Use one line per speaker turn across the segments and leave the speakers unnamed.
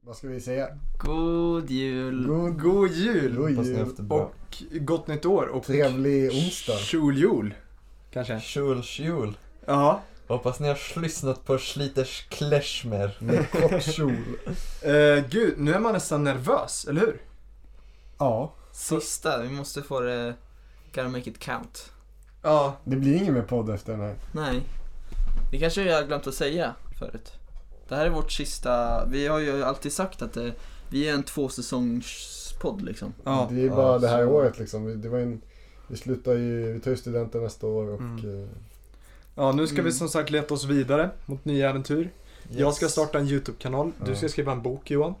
Vad ska vi säga?
God jul!
God,
God jul!
god
Hoppas
jul.
ni har haft det bra.
Och gott nytt år och
Trevlig onsdag.
kjoljul. Kanske?
eh, Tjol, tjol.
Ja.
Hoppas ni har lyssnat på Schlitters Kleshmer.
Med kort kjol.
Eh, gud, nu är man nästan nervös, eller hur?
Ja,
Sista, vi måste få det... Gotta make it count.
Ja.
det blir ingen mer podd efter den här.
Nej. Det kanske jag har glömt att säga förut. Det här är vårt sista... Vi har ju alltid sagt att det, vi är en tvåsäsongspodd liksom.
ja.
Det är bara
Ja,
det här
så.
året liksom. Vi- Det var en, vi slutar ju, vi tar ju studenten nästa år och
Mm.
eh,
Ja, nu ska vi
Mm.
som sagt leta oss vidare mot nya äventyr. Jag ska starta en YouTube-kanal. Du
Ja.
ska skriva en bok Johan.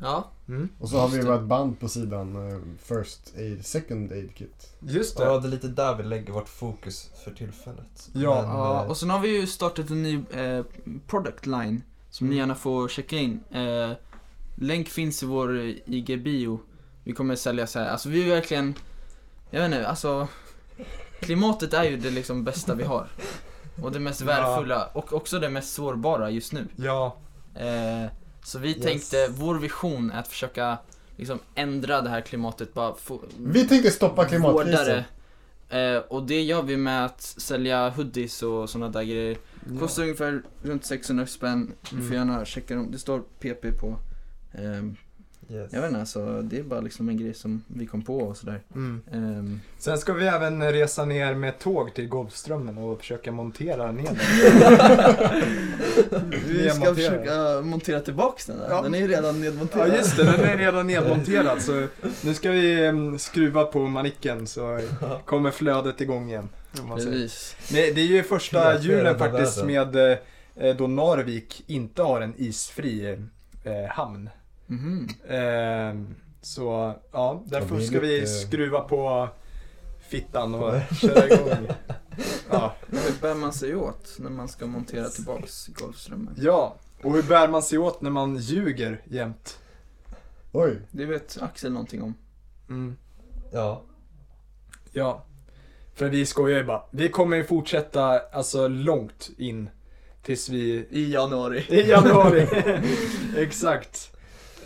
Ja.
Mm.
och så har vi
Just
vårt band på sidan. eh, First Aid, Second Aid Kit.
Just det.
Ja, det är lite där vi lägger vårt fokus för tillfället.
Ja.
Men,
ja.
eh,
Och sen har vi ju startat en ny eh, product line som ni
Mm.
gärna får checka in. Eh, länk finns i vår IG-bio. Vi kommer sälja så här. Alltså vi är verkligen... Jag vet inte, alltså... Klimatet är ju det liksom bästa vi har. Och det mest
Ja.
värdefulla och också det mest sårbara just nu.
Ja.
Eh, så vi
Yes.
tänkte, vår vision är att försöka liksom ändra det här klimatet. Bara få,
Mm.
Vi tänkte stoppa klimatkrisen.
vårda det. Eh, och det gör vi med att sälja hoodies och sådana där grejer. Kostar ungefär runt 600 spänn. Du får
Mm.
gärna checka dem. Det står PP på. Ehm,
yes.
jag vet inte, alltså, det är bara liksom en grej som vi kom på och sådär.
Mm.
Ehm,
Sen ska vi även resa ner med tåg till Golfströmmen och försöka montera ner den.
vi ska
Nedmontera.
försöka montera tillbaks den där.
Ja.
Den är ju redan
Ja
nedmonterad.
just det, den är redan nedmonterad så nu ska vi em, skruva på manicken så kommer flödet igång igen. om man säger.
Precis.
Det, det är ju första
Hela
julen
flödet av
faktiskt med eh, eh, då Narvik inte har en isfri eh, hamn.
Mhm.
Ehm, så ja, därför
det är
ska vi
lite-
skruva på fittan och köra igång. Ja.
Hur bär man sig åt när man ska montera tillbaks Golfströmmen?
ja, och hur bär man sig åt när man ljuger jämt?
Oj,
Det vet Axel någonting om.
Mm.
Ja.
Ja. För vi skojar ju bara. Vi kommer ju fortsätta alltså långt in tills vi...
I januari.
I januari. Exakt.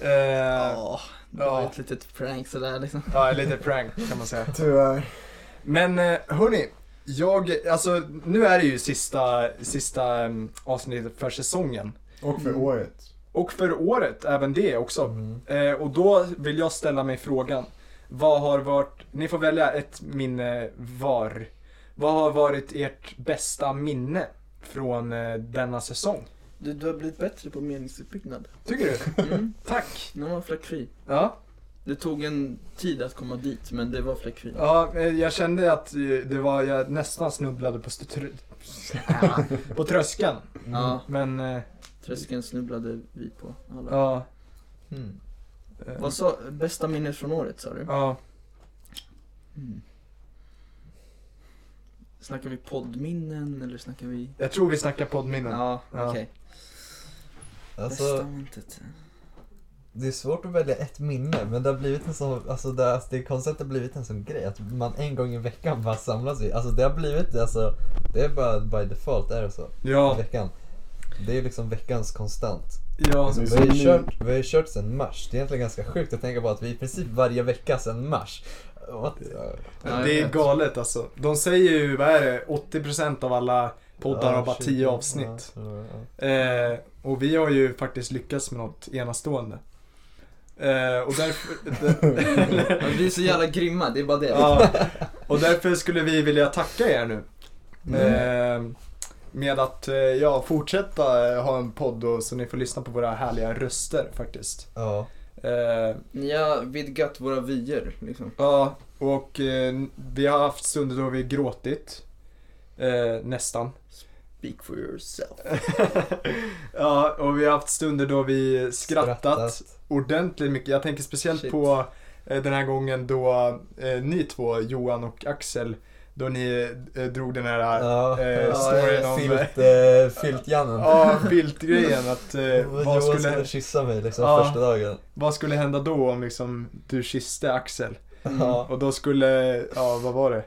Eh, ja.
Ja, det var ett litet prank sådär liksom.
lite prank kan man säga.
tyvärr.
Men eh, hörni, jag, alltså nu är det ju sista, sista mm, avsnittet för säsongen.
Och för
Mm.
året.
Och för året, även det också.
Mm.
Eh, och då vill jag ställa mig frågan. Vad har varit, ni får välja ett minne var. Vad har varit ert bästa minne från eh, denna säsong?
Du, du har blivit bättre på meningsuppbyggnad.
Tycker du?
Mm.
Tack!
Den var fläckfri.
Ja,
Det tog en tid att komma dit, men det var fläckfri.
ja eh, jag kände att eh, det var, jag nästan snubblade på, str- tr- på tröskeln.
Ja,
Men, eh,
tröskeln snubblade vi på. Alla.
ja.
Mm.
eh,
Vad sa, bästa minnet från året sa du?
Ja,
Mm. Snackar vi poddminnen eller snackar vi...
jag tror vi snackar poddminnen.
Ja,
Ja.
okej. Bästa
Alltså,
minnet.
det är svårt att välja ett minne, men det har blivit en sån, alltså det, alltså, det konceptet har blivit en sån grej att man en gång i veckan bara samlas i, alltså det har blivit, alltså det är bara by default är det så,
Ja,
veckan. Det är liksom veckans konstant.
ja.
Alltså,
Det är
vi, har
som
ju kört, vi har ju kört sedan mars. Det är egentligen ganska sjukt att tänka på att vi i princip varje vecka sedan mars. What?
Ja,
det
jag
är
vet.
galet alltså. De säger ju, vad är det, 80% av alla poddar har bara 10 avsnitt. Eh, och vi har ju faktiskt lyckats med något enastående. Eh, och, därför,
Men vi är så jävla grymma, det är bara det.
ja, och därför skulle vi vilja tacka er nu. Eh, med att eh, ja, fortsätta eh, ha en podd och, så ni får lyssna på våra härliga röster faktiskt.
Ja.
Eh,
Ni har vidgat våra vyer liksom.
Ja, och eh, vi har haft stunder då vi gråtit. Eh, nästan.
Speak for yourself.
ja, och vi har haft stunder då vi skrattat,
Skrattat.
ordentligt mycket. Jag tänker speciellt
Shit.
på eh, den här gången då eh, ni två, Johan och Axel, då ni eh, drog den här
Ja.
eh,
Ja,
storyn
eh,
om...
Filt, eh, Filt-Jannen.
Ja, filtgrejen. Att, eh,
Johan
vad,
skulle
skulle,
kyssa mig liksom
Ja.
första dagen.
vad skulle hända då om liksom, du kysste Axel?
Ja.
Och då skulle, ja vad var det?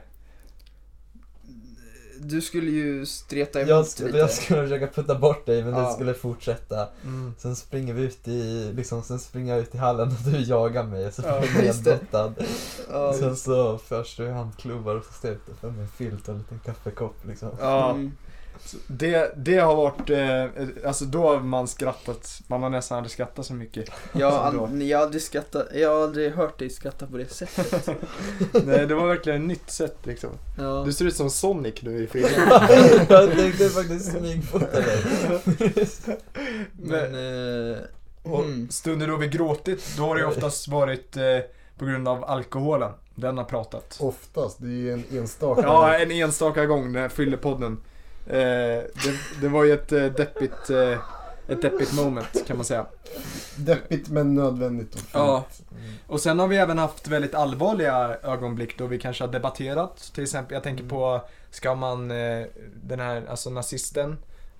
du skulle ju streta emot
Jag,
lite.
skulle- jag skulle försöka putta bort dig men
Ja.
du skulle fortsätta.
Mm.
Sen springer vi ut i, liksom, sen springer jag ut i hallen och du jagar mig så
Ja,
blir jag
just det.
nedbrottad.
Ja,
Sen så först du handklovar och så står jag utanför med en filt och en liten kaffekopp liksom.
Ja,
Mm.
så det, det har varit, eh, alltså då har man skrattat, man har nästan aldrig skrattat så mycket.
jag, har
Så bra.
aldrig, jag, har aldrig skrattat, jag har aldrig hört dig skratta på det sättet.
Nej, det var verkligen ett nytt sätt liksom.
Ja.
Du ser ut som Sonic nu i filmen.
jag tänkte faktiskt smygfota dig.
Men, eh,
Och
Mm.
stunder då vi gråtit, då har det oftast varit eh, på grund av alkoholen. Den har pratat.
Oftast, det är ju en enstaka.
Ja, en enstaka gång, den här fyllepodden. Eh, det, det var ju ett eh, deppigt, eh, ett deppigt moment kan man säga.
Deppigt men nödvändigt. Och fint.
Ja.
Mm.
Och sen har vi även haft väldigt allvarliga ögonblick då vi kanske har debatterat. Till exempel, jag tänker på, ska man, eh, den här, alltså nazisten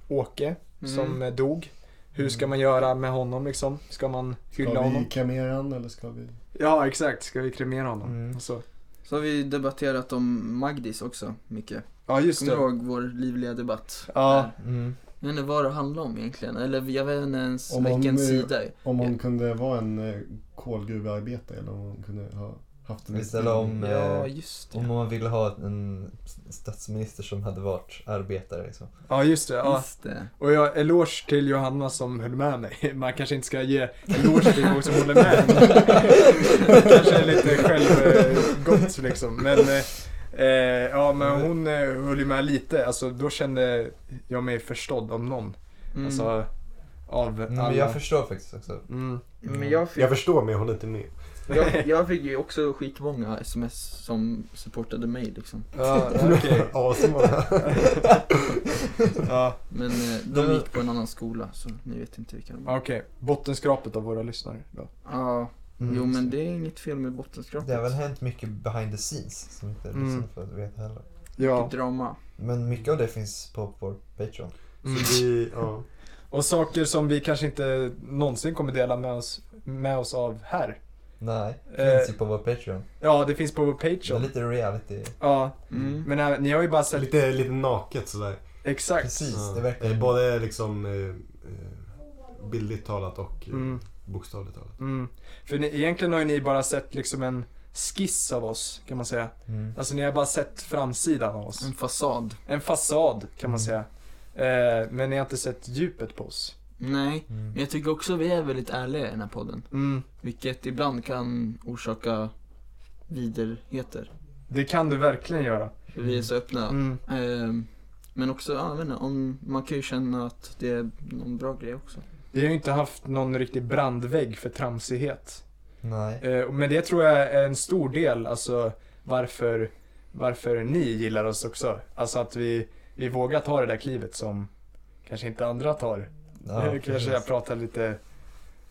Åke som
Mm.
eh, dog. Hur ska man göra med honom liksom? Ska man
Ska
hylla
vi
honom?
kremera han eller ska vi...
Ja, exakt. Ska vi kremera honom? Alltså,
Mm.
Och Så.
så har vi debatterat om Magdis också mycket.
Ja, just
Kommer
det.
du ihåg vår livliga debatt?
Ja.
Mm.
Jag vet inte vad det handlar om egentligen, eller jag vet inte ens
Om hon
vilken
nu-
sida.
Om hon kunde vara en eh, kolgruvearbetare eller om hon kunde ha haft en...
Visst, eller om-
Ja, just det.
Om man ville ha en statsminister som hade varit arbetare liksom.
ja, just det. Ja.
Just det.
Och jag, eloge till Johanna som höll med mig. Man kanske inte ska ge eloge till någon som håller med. kanske är lite självgott liksom. Men, eh, eh, ja, men hon eh, höll ju med lite. Alltså, då kände jag mig förstådd om någon.
Mm.
Alltså, av
Mm,
alla.
Men jag förstår faktiskt också.
mm.
Men jag fick,
Jag förstår men jag håller inte med.
jag, jag fick ju också skitmånga sms som supportade mig liksom.
ja, okej.
Asmånga.
ja,
Men eh, de gick på en annan skola, så ni vet inte vilka de var.
okej. Bottenskrapet av våra lyssnare. Då.
Ja,
Mm.
jo men det är inget fel med bottenskrapet.
Det har väl hänt mycket behind the scenes som inte
Mm.
lyssnarna får veta heller.
Ja.
Drama.
Men mycket av det finns på vår Patreon.
Mm.
Så vi, ja.
Och saker som vi kanske inte någonsin kommer dela med oss, med oss av här.
Nej,
Eh,
finns ju på vår Patreon.
Ja, det finns på vår
Det är
Patreon.
lite reality.
Ja,
Mm.
men äh, ni har ju bara
Så
sett...
lite, lite naket sådär.
Exakt.
Precis,
Ja.
det är verkligen...
Eh, Både liksom eh, eh, bildligt talat och eh,
Mm,
bokstavligt talat.
mm. För ni, egentligen har ju ni bara sett liksom en skiss av oss, kan man säga.
Mm.
Alltså ni har bara sett framsidan av
Mm.
oss.
En fasad.
En fasad, kan man
Mm.
säga. Eh, men ni har inte sett djupet på oss.
Nej,
Mm.
men jag tycker också vi är väldigt ärliga i den här podden.
Mm.
Vilket ibland kan orsaka viderheter.
Det kan du verkligen göra.
För vi är så öppna.
Mm.
Ehm, men också, ja, jag vet inte, om, man kan ju känna att det är någon bra grej också.
Vi har ju inte haft någon riktig brandvägg för tramsighet.
Nej.
Eh, Men det tror jag är en stor del, alltså varför, varför ni gillar oss också. Alltså att vi, vi vågar ta det där klivet som kanske inte andra tar.
Ja,
Eh, kanske jag
precis.
pratar lite,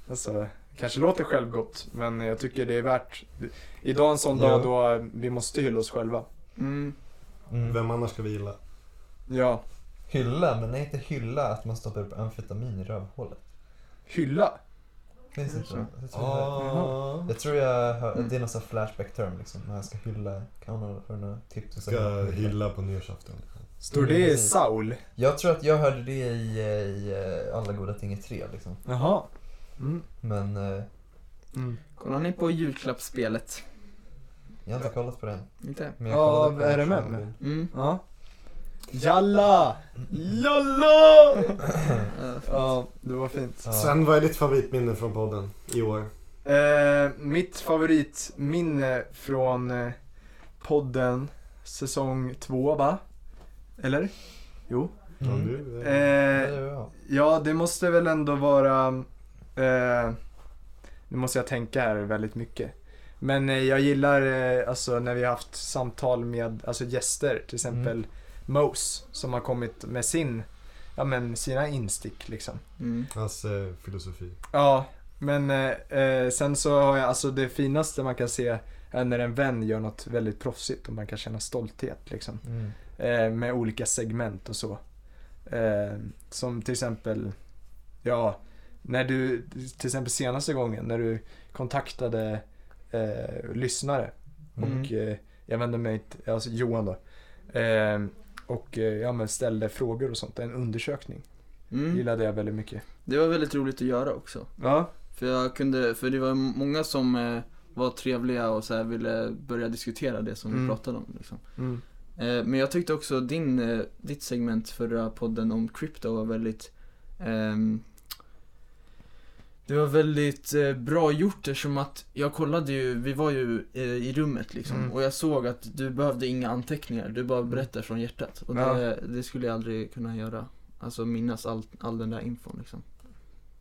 alltså kanske låter självgott, men jag tycker det är värt. Idag är en sån dag
Ja.
då vi måste hylla oss själva.
Mm.
mm.
Vem annars ska vi gilla?
Ja,
Hylla, men är inte hylla att man stoppar upp amfetamin i rövhålet?
hylla.
Finns det inte?
Mm.
Jag tror jag-
Ah.
Jag tror jag hör,
Mm.
det är någon sån flashback term liksom, när jag ska hylla. Kan någon få några tips? och så-
Ska hylla på nyårsafton.
Står det
Mm.
i Saul?
Jag tror att jag hörde det i, eh, i eh, Alla goda ting är tre liksom.
Jaha. Mm.
Men eh,
Mm.
Kollar ni på julklappsspelet?
jag har inte kollat på den.
Inte?
Men jag kollade
Av
på den.
RMM?
Mm.
Ja. Jalla!
Mm.
Jalla!
Mm.
eh,
Ja, det var fint.
Ja.
Sen, vad är ditt favoritminne från podden i år?
Eh, mitt favoritminne från eh, podden säsong två, va? Eller? Jo.
Ja,
Mm.
du, eh,
Ja,
Eh,
det var jag.
ja, det måste väl ändå vara... Eh, nu måste jag tänka här väldigt mycket. Men eh, jag gillar eh, alltså när vi har haft samtal med alltså gäster, till exempel Mose som har kommit med sin, ja men sina instick liksom.
Mm.
Hans eh, filosofi.
Ja, men eh, eh, sen så har jag, alltså det finaste man kan se är när en vän gör något väldigt proffsigt och man kan känna stolthet liksom.
Mm.
Eh, med olika segment och så. Eh, som till exempel, ja, när du, till exempel senaste gången när du kontaktade eh, lyssnare
Mm.
och eh, jag vände mig till, alltså Johan då. Eh, och eh, ja, men ställde frågor och sånt. En undersökning
Mm.
gillade jag väldigt mycket.
Det var väldigt roligt att göra också.
Ja,
För, jag kunde, för det var många som eh, var trevliga och så här ville börja diskutera det som
Mm.
vi pratade om. Liksom.
mm.
Eh, men jag tyckte också din, eh, ditt segment förra podden om krypto var väldigt ehm, Det var väldigt eh, bra gjort eftersom att jag kollade ju, vi var ju eh, i rummet liksom
Mm.
och jag såg att du behövde inga anteckningar, du bara
Mm.
berättar från hjärtat. Och
Ja.
det, det skulle jag aldrig kunna göra. Alltså minnas all, all den där infon liksom.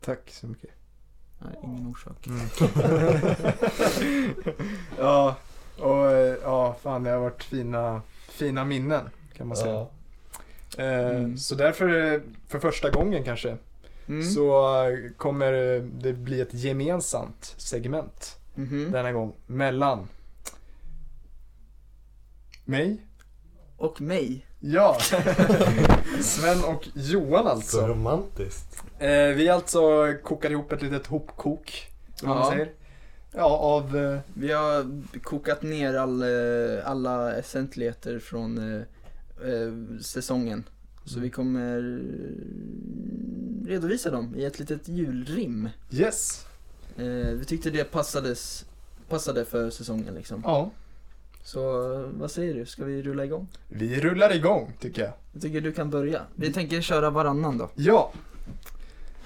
tack så mycket.
Nej, ingen orsak.
Mm. ja, och eh, ja, fan det har varit fina, fina minnen kan man säga.
Ja.
Eh,
Mm.
Så därför, eh, för första gången kanske,
Mm.
så eh, kommer eh, det bli ett gemensamt segment
Mhm.
denna gång mellan mig,
Och mig.
ja, Sven och Johan
Så
alltså.
romantiskt.
Eh, vi alltså kokar ihop ett litet hopkok, som man
Ja.
säger. Ja, av eh,
Vi har kokat ner all, eh, alla essentligheter från eh, eh, säsongen. Så vi kommer eh, redovisa dem i ett litet julrim.
Yes.
Eh, vi tyckte det passades, passade för säsongen liksom.
Ja.
Så eh, vad säger du, ska vi rulla igång?
Vi rullar igång tycker jag.
Jag tycker du kan börja. Vi tänker köra varannan då.
Ja.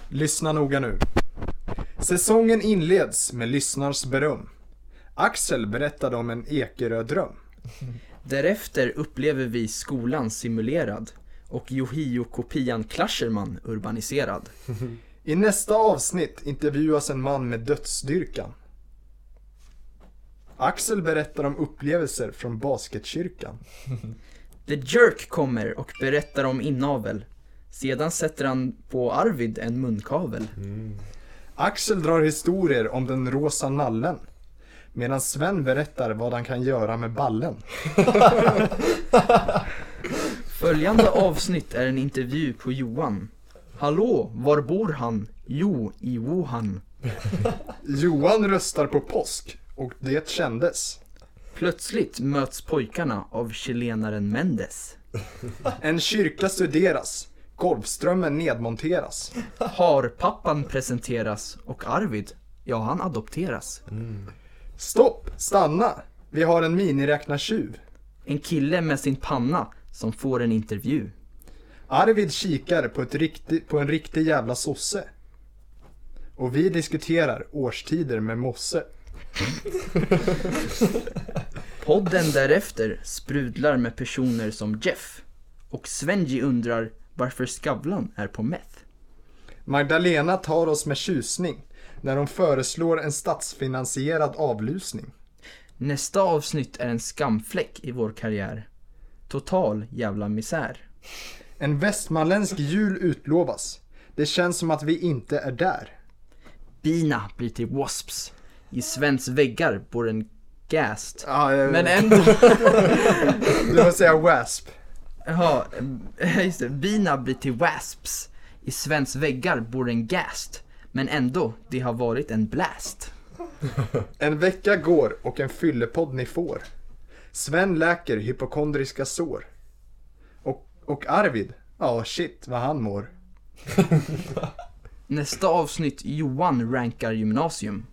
Lyssna noga nu. Säsongen inleds med lyssnars beröm. Axel berättade om en Ekerö-dröm.
Därefter upplever vi skolan simulerad och Yohio-kopian Clasherman urbaniserad.
I nästa avsnitt intervjuas en man med dödsdyrkan. Axel berättar om upplevelser från basketkyrkan.
The Jerk kommer och berättar om inavel. Sedan sätter han på Arvid en munkavel.
Axel drar historier om den rosa nallen. Medan Sven berättar vad han kan göra med ballen.
Följande avsnitt är en intervju på Johan. Hallå, var bor han? Jo, i Wuhan.
Johan röstar på påsk och det kändes.
Plötsligt möts pojkarna av chilenaren Mendes.
En kyrka studeras. Golfströmmen nedmonteras.
Har pappan presenteras och Arvid, ja han adopteras.
Stopp! Stanna! Vi har en miniräknartjuv.
En kille med sin panna som får en intervju.
Arvid kikar på, ett riktigt, på en riktig jävla sosse. Och vi diskuterar årstider med Mosse.
Podden därefter sprudlar med personer som Jeff och Svenji undrar varför Skavlan är på meth.
Magdalena tar oss med tjusning när hon föreslår en statsfinansierad avlusning.
Nästa avsnitt är en skamfläck i vår karriär. Total jävla misär.
En västmanländsk jul utlovas. Det känns som att vi inte är där.
Bina blir till wasps. I Svens väggar bor en gast. Men
Men en...
ändå...
Du får säga wasp.
Ja, eh, just det. Bina blir till wasps. I Svens väggar bor en gast. Men ändå, det har varit en blast.
En vecka går och en fyllepodd ni får. Sven läker hypokondriska sår. Och, och Arvid, ja shit vad han mår.
Nästa avsnitt Johan rankar gymnasium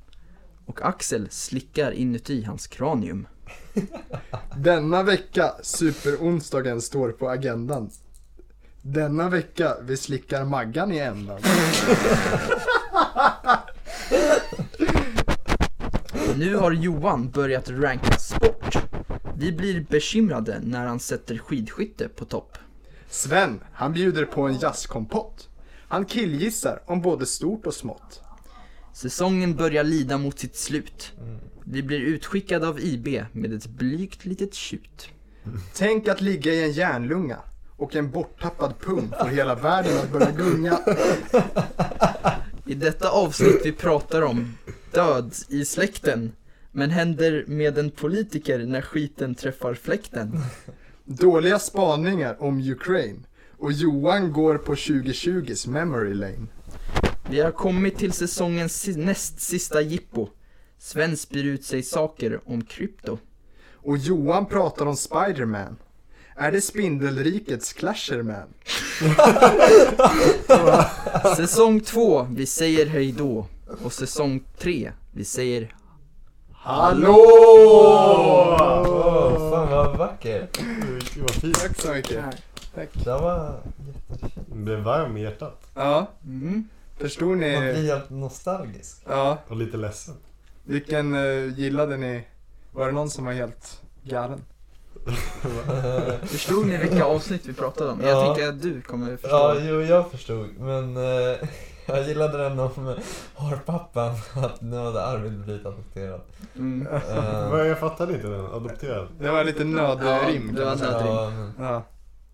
och Axel slickar inuti hans kranium.
Denna vecka, superonsdagen står på agendan. Denna vecka, vi slickar Maggan i ändan.
Nu har Johan börjat ranka sport. Vi blir bekymrade när han sätter skidskytte på topp.
Sven, han bjuder på en jazzkompott. Han killgissar om både stort och smått.
Säsongen börjar lida mot sitt slut. Vi blir utskickade av IB med ett blygt litet tjut.
Tänk att ligga i en järnlunga och en borttappad pung får hela världen att börja gunga.
I detta avsnitt vi pratar om död i släkten, men händer med en politiker när skiten träffar fläkten.
Dåliga spaningar om Ukraine och Johan går på 2020s memory lane.
Vi har kommit till säsongens si- näst sista jippo. Sven spyr ut sig saker om krypto.
Och Johan pratar om Spiderman. Är det Spindelrikets Clasherman?
Säsong två, vi säger hej då. Och säsong tre, vi säger...
Hallå!
Åh, fan vad vacker.
Vad fint.
Tack så mycket. Tack.
Det var jättefint.
Den blev varm i hjärtat
Ja,
Mm.
förstod
Man
ni?
blir helt nostalgisk.
Ja,
och lite ledsen.
vilken eh, gillade ni? Var det någon som var helt galen?
Förstod ni vilka avsnitt vi pratade om? Jag
Ja.
tänker att du kommer förstå.
Ja, jo, jag förstod. Men eh, jag gillade den om hårpappan. Att nu hade Arvid blivit adopterad.
Mm.
Eh,
Men jag fattade inte den. Adopterad.
Det var lite nödrim.
Ja,
kan
det var
man säga.
nödrim.
ja, men,
Ja.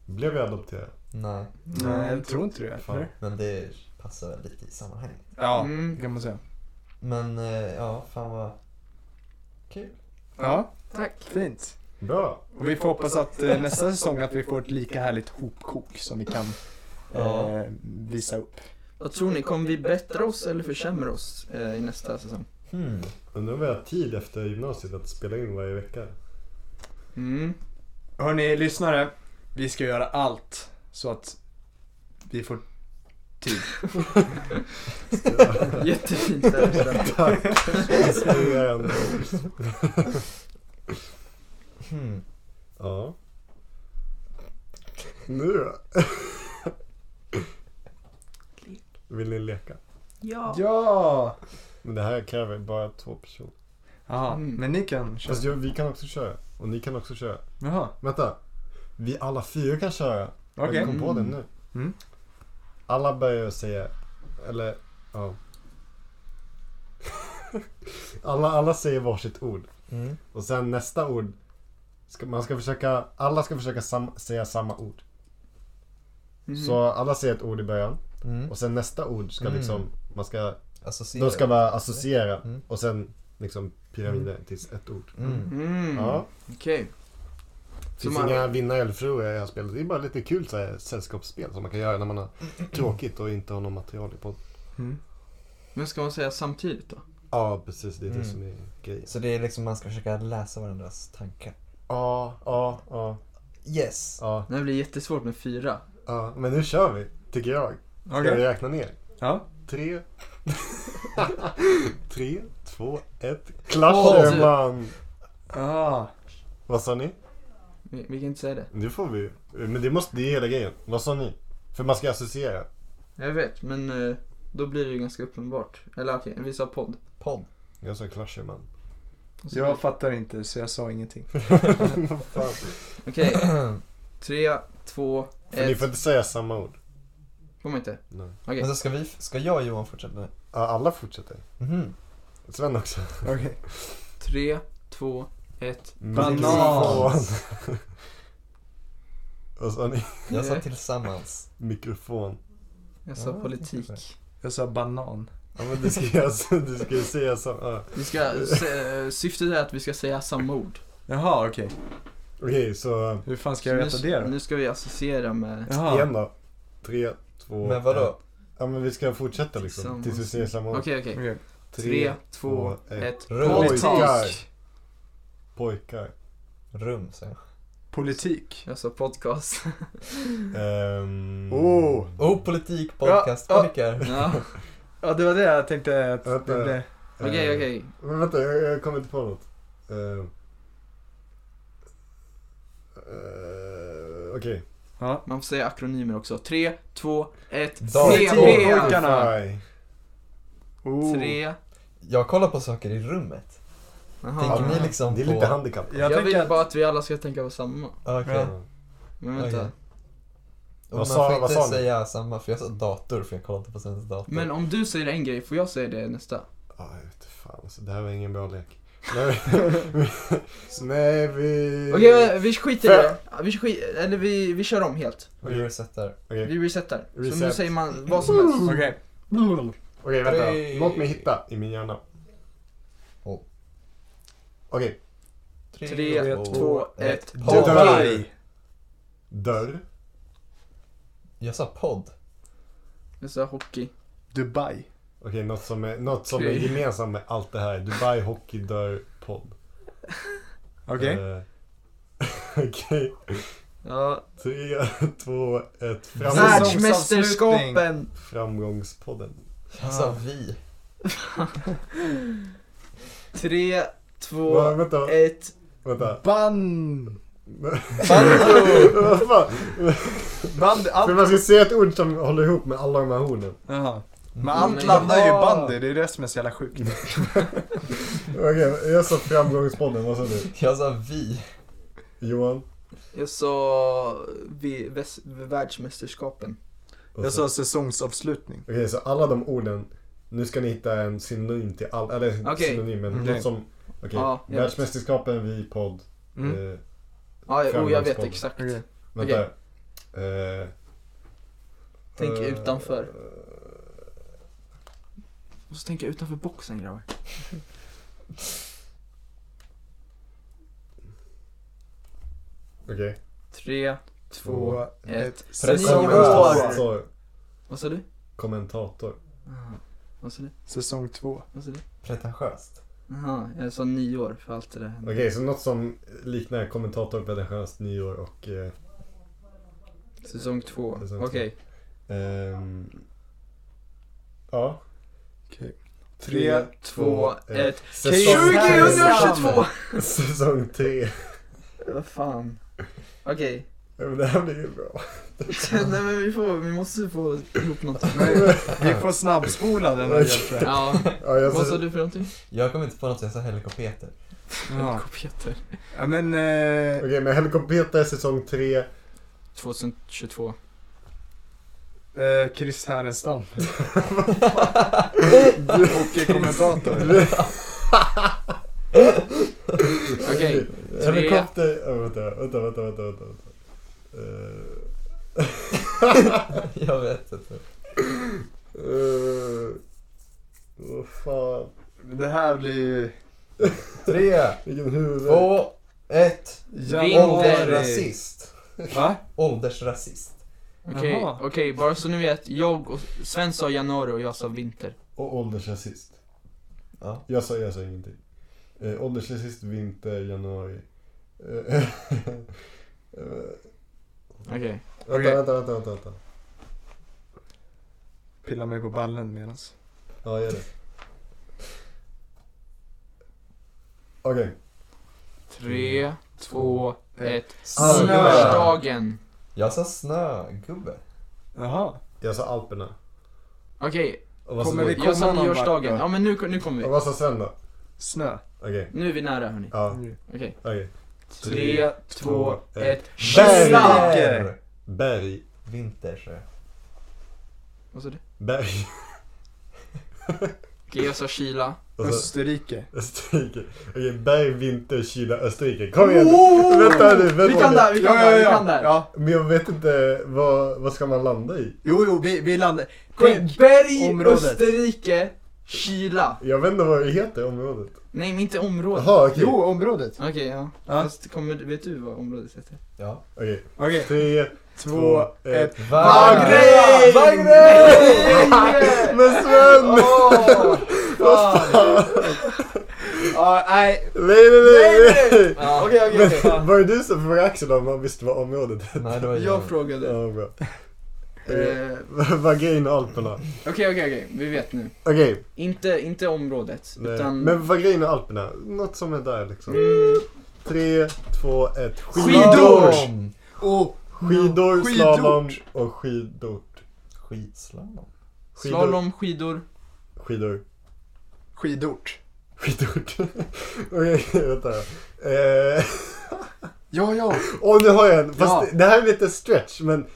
Blev jag adopterad?
nej.
Nej, jag tror inte det.
Fan.
eller?
Men det passar väl lite i sammanhanget.
Ja,
Mm.
det kan man säga.
Men eh, ja, fan vad...
Ja,
Tack.
fint.
Bra.
Och vi får hoppas att eh, nästa säsong att vi får ett lika härligt hopkok som vi kan
Ja.
eh, visa upp.
Vad tror ni, kommer vi bättra oss eller försämra oss eh, i nästa säsong?
Hmm.
Undrar om vi har tid efter gymnasiet att spela in varje vecka.
Mm.
Hörni lyssnare, vi ska göra allt så att vi får tid.
Jättefint där.
Inspirerande.
Hmm.
Ja. Nu då? Vill ni leka?
Ja.
Ja!
Men det här kräver bara två personer.
Jaha,
Mm.
men ni kan köra.
Fast jag, vi kan också köra. Och ni kan också köra.
Jaha,
Vänta. Vi alla fyra kan köra.
okej.
Jag kom på det nu.
Mm.
Alla börjar säga, eller ja. alla, alla säger varsitt ord.
Mm.
Och sen nästa ord, ska, man ska försöka, alla ska försöka sam, säga samma ord.
Mm.
Så alla säger ett ord i början.
Mm.
Och sen nästa ord ska
Mm.
liksom, man ska,
Associerar.
de ska vara associera.
Mm.
Och sen liksom pyramiden tills ett ord.
Mm.
Mm.
Ja.
Okej.
Det finns
Så man-
inga vinnare eller förlorare i det här spelet. Det är bara lite kul så här, sällskapsspel som man kan göra när man har
Mm.
tråkigt och inte har något material i podden.
Mm.
Men ska man säga samtidigt då?
Ja, precis. Det är det
Mm.
som är grejen.
Så det är liksom man ska försöka läsa varandras tankar.
Ja, ja, ja,
Yes!
ja,
Det här blir jättesvårt med fyra.
ja. Men nu kör vi, tycker jag. Ska
Okej.
vi räkna ner?
Ja.
Tre... Tre, två, ett.
Åh, du-
Clasherman!
Ah.
Vad sa ni?
Vi, vi kan inte säga det.
Det får vi ju. Men det måste, det är hela grejen. Vad sa ni? För man ska associera.
Jag vet, men eh, då blir det ju ganska uppenbart. Eller okej, vi sa podd.
Podd.
Jag sa Clasherman.
Och så-
Jag fattar inte så jag sa ingenting.
Vad fan.
Okej, tre, två,
För ni
ett.
får inte säga samma ord.
Får man inte?
Nej.
Okej.
Men så ska, vi, ska jag och Johan fortsätta nu?
Ja, alla fortsätter.
Mhm.
Sven också.
Okej.
Tre, två, ett.
Banan.
Mikrofon. Vad sa ni?
Jag sa
Nej.
tillsammans.
Mikrofon.
Jag sa
Ja,
politik.
jag tänkte
Jag sa banan.
Ja men du ska ju du ska ju säga samma. ja.
Vi ska, se, syftet är att vi ska säga samma ord.
Jaha, okej.
Okej så
Hur fan ska
Så
jag
nu-
veta det då?
Nu ska vi associera med...
Jaha.
igen då. Tre, två,
Men vadå?
ett. Ja men vi ska fortsätta liksom
Tillsammans.
tills vi säger samma ord.
Okej, okej.
Okej.
Tre, två,
två, ett.
ett.
Rum.
Oj.
Politik.
Pojkar.
Rum, säger jag.
Politik.
Jag sa podcast.
Ehm...
Oh.
Oh, politik, podcast,
Ja, ja.
pojkar.
Ja.
Ja, det var det jag tänkte att det
Vänta.
blev.
Okej,
eh,
okej.
Men vänta jag, jag kommer inte på något. Ehm. Eh, Okej.
Ja.
Man får säga akronymer också. Tre, två, ett.
Dag-
CP!
Pojkarna.
Oh.
Tre.
Jag kollar på saker i rummet.
Jaha.
Tänker ni liksom
Det är
på...
lite handikapp.
Jag,
Jag,
tänker
vill
att...
bara att vi alla ska tänka på samma.
Okej.
Ja.
Men vänta.
Okej.
Vad
Och man
sa-
får
vad
inte
sa ni?
säga samma, för jag sa dator, för jag kollade inte på Svens dator.
Men om du säger en grej, får jag säga det nästa?
Ja, jag vet fan alltså, det här var ingen bra lek. Nej, Nej vi...
Okej, vi skiter i det. Vi, skit, eller vi, vi kör om helt.
Vi resetar.
Okej,
Vi resetar. Så nu
Reset.
säger man vad som helst.
Okej.
Okej, vänta.
Tre.
Låt mig hitta i min hjärna.
Oh.
Okej,
Tre, två, ett.
Podd.
Dubai.
dörr.
Jag sa podd.
Jag sa hockey.
Dubai.
Okej, något som är, något som är
Okej.
gemensamt med allt det här. Dubai Hockey Dörr Podd.
Okej.
Eh, Okej.
Ja.
Tre, två, ett. Framgångs-
Säsong.
Världsmästerskapen!
Framgångspodden.
Ah.
Alltså vi.
Tre, två,
Va, vänta,
ett.
vänta.
Band...
Vad fan?
Band...
För
Allt...
man ska säga ett ord som håller ihop med alla de här hornen.
Jaha. Men allt
men-
landar ju i
Ja.
bandy, det är det som är så jävla sjukt.
Okej, jag sa framgångspodden. Vad sa du?
Jag sa vi.
Johan?
Jag sa vi, väs, världsmästerskapen.
Och
Jag
så-
sa Alltså, säsongsavslutning.
Okej, så alla de orden. Nu ska ni hitta en synonym till all... Eller
Okej. Mm.
synonym, men
Okej.
något som... Okej.
Ja, jag vet.
Världsmästerskapen, vi, podd.
Mm.
Eh,
Ja, jag- oh, jag vet
Framgångspodden.
exakt.
Okej.
vänta. Eh,
Tänk
eh,
utanför. Måste tänka utanför boxen grabbar.
Okej.
Tre, två,
Två,
ett.
Säsong
Säsong
två.
två.
Så,
Vad sa du?
kommentator.
Aha. Vad sa du?
Säsong två.
Vad sa du?
Pretentiöst.
Jaha, jag sa nio år för allt det där hände.
Okej, så något som liknar kommentator, religiöst, nyår och... Eh,
Säsong två.
Säsong
Okej.
två. ehm, ja.
Okej.
Tre, två, ett.
Säsong,
2022!
säsong tre.
Vad fan. Okej.
Ja, men Det här blir ju bra.
Nej men vi får, vi måste få ihop något.
Vi får snabbspola den här
Okej.
hjälpen.
Ja,
Ja, jag,
vad sa du för någonting?
Jag kom inte på något, jag sa helikopeter.
Ja.
Kopieter.
Ja, men... Eh,
Okej, men Helikopter säsong tre.
2022.
eh, Chris Härenstam. Och eh, kommentator.
Okej. Tre.
Helikopter... Ja, vänta, vänta, vänta, vänta. vänta. vänta. Eh,
Jag vet inte.
eh, Vad fan.
Det här blir ju...
Tre,
Vilken huvud.
två, ett.
Vinter.
Åldersrasist.
Va?
Åldersrasist.
Okej,
Jaha.
okej, bara så ni vet. Jag och Sven sa januari och jag sa vinter.
Och åldersrasist.
Ja.
Jag sa, jag sa ingenting. Eh, åldersrasist, vinter, januari. Eh, eh,
Okej.
Vänta,
Okej.
vänta, vänta, vänta, vänta.
Pilla mig på ballen medans.
Ja, gör det. Okej.
Tre, två,
Eh,
ett.
Snö.
Snörsdagen.
Jag sa snögubbe.
Jaha.
Jag sa alltså Alperna.
Okej,
Och Alltså, vad
Kommer
sa,
vi-
du?
jag
komma
sa
någon
nyårsdagen.
vart då?
Ja men nu, nu kommer
och
vi.
vad sa Sven då?
Snö.
Okej.
Nu är vi nära hörni.
Mm.
Ja,
Okej.
okej.
Tre, två, ett.
Berg.
Kyssa!
Berg.
Vintersö.
Vad sa du?
Berg.
Okej, jag sa kyla.
Och så
Österrike.
Österrike. Okej, berg, vinter, kyla, Österrike. Kom igen! Oh! Vänta nu,
Vi
vänta
kan
nu.
där, vi kan där, vi kan där.
Ja.
Men jag vet inte, vad, vad ska man landa i?
Jo, jo, vi, vi landar. Tänk.
Berg,
Området.
Österrike, kyla.
Jag vet inte vad det heter, området.
Nej, men inte området.
Jaha, okej.
Jo, området.
Okej, ja.
Ja.
Fast kommer, vet du vad området heter?
Ja.
Okej.
Okej.
Tre,
Två,
två,
ett.
ett.
Bagre!
Men Sven!
Åh! Ja, nej.
Nej, nej, nej! nej.
Ja.
Okej, okej, okej.
Men, var det du som frågade Axel om han visste vad området hette?
Nej, det var jag.
Jag frågade.
Ja, bra. Eh,
Eh,
Vad grejen och Alperna?
Okej, okej, okej. Vi vet nu.
Okej,
Inte, inte området,
nej.
utan...
men vad grejen och Alperna? Något som är där liksom.
Mm,
Tre, två, ett.
Skidor!
Slalom.
Oh,
Skidor,
Skidort.
slalom och skidort.
Skitslalom.
Skidor.
slalom, skidor.
Skidor.
skidort.
Skidort. Okej, vänta. Eh,
Ja, ja.
Åh, nu har jag en. Fast
Ja.
det här är lite stretch, men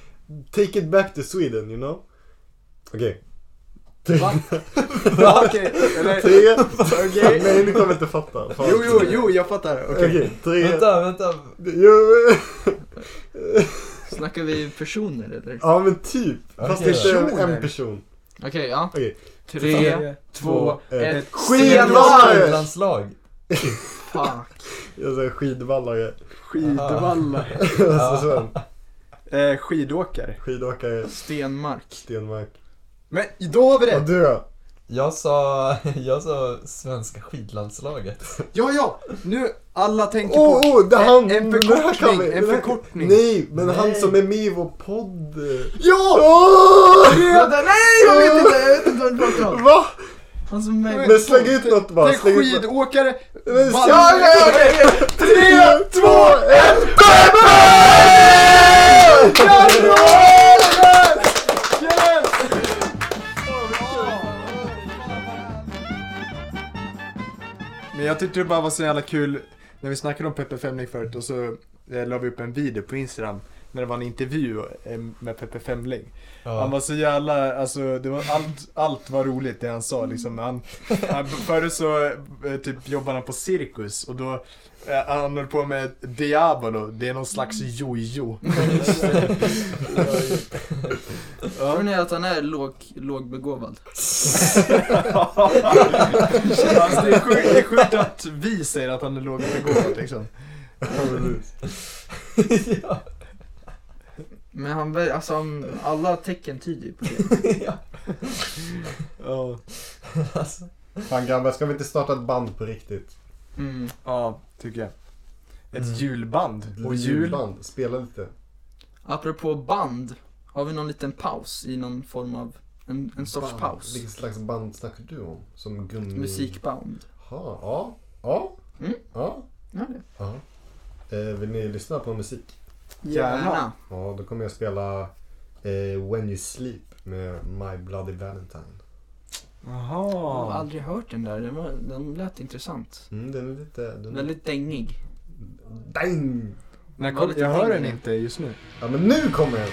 take it back to Sweden, you know? Okej.
Va? Okej. Eller,
Tre.
Okej.
Nej, ni kommer inte fatta. Fan.
Typ. Jo, jo, jo, jag fattar. Okej.
Okej, tre.
Vänta, vänta.
Jo.
Snackar vi personer eller?
Ja, men typ. Fast
Okej.
det är inte en,
Personer.
en person.
Okej, ja.
Okej.
Tre, två,
ett.
ett.
Skidvallare!
Landslag.
Fuck.
Jag säger skidvallare.
Skidvallare.
Alltså Sven.
Eh, skidåkare.
Skidåkare,
Stenmark.
Stenmark.
Men då har vi
Och
rätt.
du då?
Jag sa, jag sa svenska skidlandslaget.
Ja, ja! Nu, alla tänker
Åh,
på...
åh, Oh, det är han!
en
det här kan
förkortning,
vi-
en
det här-
förkortning.
Nej, men han
Nej.
som är med i vår podd. eh.
Ja!
Åh!
Redan, nej, jag vet inte! Jag vet inte vad du pratar om.
Va?
Han som är
Men släng ut något
Det
bara.
är
Släng ut något.
skidåkare.
Men
Vad-
släng-
Tre, två,
ett!
Men jag tyckte det bara var så jävla kul när vi snackade om Peppe Femling förut och så eh, la vi upp en video på Instagram när det var en intervju eh, med Peppe Femling. Han var så jävla, alltså det var allt, allt var roligt det han sa liksom. Han, han, förut så eh, typ jobbade han på cirkus och då eh, han höll på med Diabolo, det är någon slags jojo.
Tror ni att han är låg, lågbegåvad?
alltså, det, är sjukt, det är sjukt att vi säger att han är lågbegåvad liksom.
ja.
Men han, ver- alltså han, alla tecken tyder ju på det.
ja.
Ja.
Alltså,
Fan grabbar, ska vi inte starta ett band på riktigt?
Mm.
Ja, tycker jag. Ett
Mm.
julband. Och jul.
Julband, spela lite.
Apropå band, har vi någon liten paus i någon form av, en, en sorts
Band.
paus?
Vilket slags band snackar du om? Som gummi...
Musikband.
Ha, ja. Ja.
Mm.
ja.
Ja, det.
ja. Eh, vill ni lyssna på musik?
Gärna.
Ja, då kommer jag spela eh, When You Sleep med My Bloody Valentine.
Jag har
Jaha.
aldrig hört den där, den, var, den lät intressant.
Mm, den är lite... Den...
Väldigt dängig.
Dang!
När kom, jag hör den inte just nu.
Ja, men nu kommer den!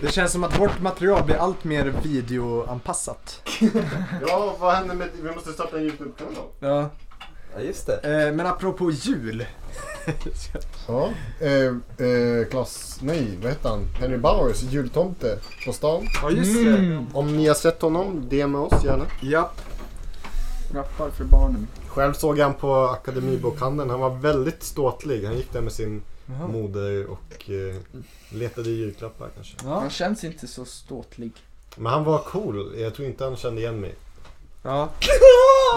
Det känns som att vårt material blir allt mer videoanpassat.
Ja, vad händer med... Vi måste starta en YouTube-kanal.
Ja.
ja, just det.
Eh, men apropå jul.
Ja. Eh, eh, Klas, nej vad heter han? Henry Bowers, jultomte på stan.
Ja, just det.
Mm.
Om ni har sett honom, DM oss gärna.
Mm. Ja.
Rappar för barnen.
Själv såg jag han på Akademibokhandeln. Han var väldigt ståtlig. Han gick där med sin moder och eh, letade julklappar kanske.
Ja.
Han känns inte så ståtlig.
Men han var cool. Jag tror inte han kände igen mig.
ja.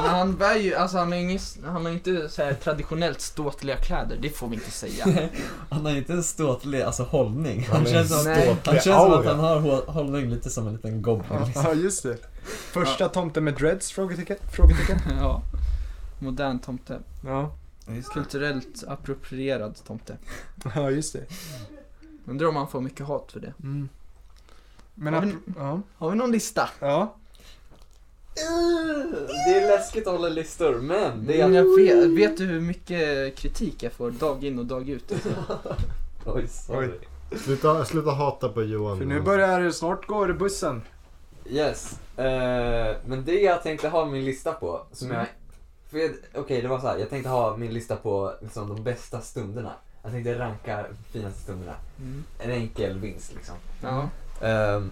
Men han bär ju, alltså han har, ingen, han har inte så här traditionellt ståtliga kläder, det får vi inte säga.
Han har inte en ståtlig alltså, hållning.
Han
Han
är
känns, som,
Nej.
han
Det är
känns som att
aura.
han har hå- hållning lite som en liten goblin.
Ja, just det. Första tomten med dreads? Frågetecken? Frågetecken?
ja. Modern tomte.
Ja.
Kulturellt approprierad tomte.
Ja, just det.
Undrar om han får mycket hat för det.
Mm. Men
Ja,
apro- ja.
Har vi någon lista?
Ja.
Det är läskigt att hålla listor, men
Det jag vet, vet du hur mycket kritik jag får dag in och dag ut?
Oj,
sorry.
Sluta, sluta hata på Johan.
För nu börjar det, snart går bussen.
Yes, eh, men det jag tänkte ha min lista på, som jag... för jag- Okej, det var så här. jag tänkte ha min lista på liksom, de bästa stunderna. Jag tänkte ranka de finaste stunderna.
Mm.
En enkel vinst liksom.
Ja.
Ehm,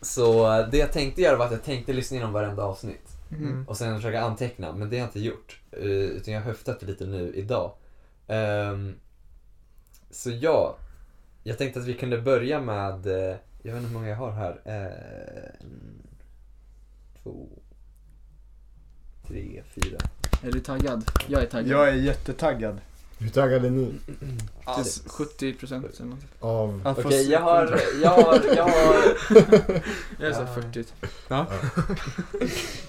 så det jag tänkte göra var att jag tänkte lyssna igenom varenda avsnitt
Mm.
och sen försöka anteckna, men det har jag inte gjort. Eh, utan jag har höftat lite nu idag. Ehm, så ja, jag tänkte att vi kunde börja med, eh, jag vet inte hur många jag har här. Eh, en, två, tre, fyra.
Är du taggad? Jag är taggad.
Jag är jättetaggad.
Hur taggade ni
Typ 70 procent eller något.
av...
Att få
Okej,
se-
jag har, jag har, jag har,
Jag är så
Ja.
här 40.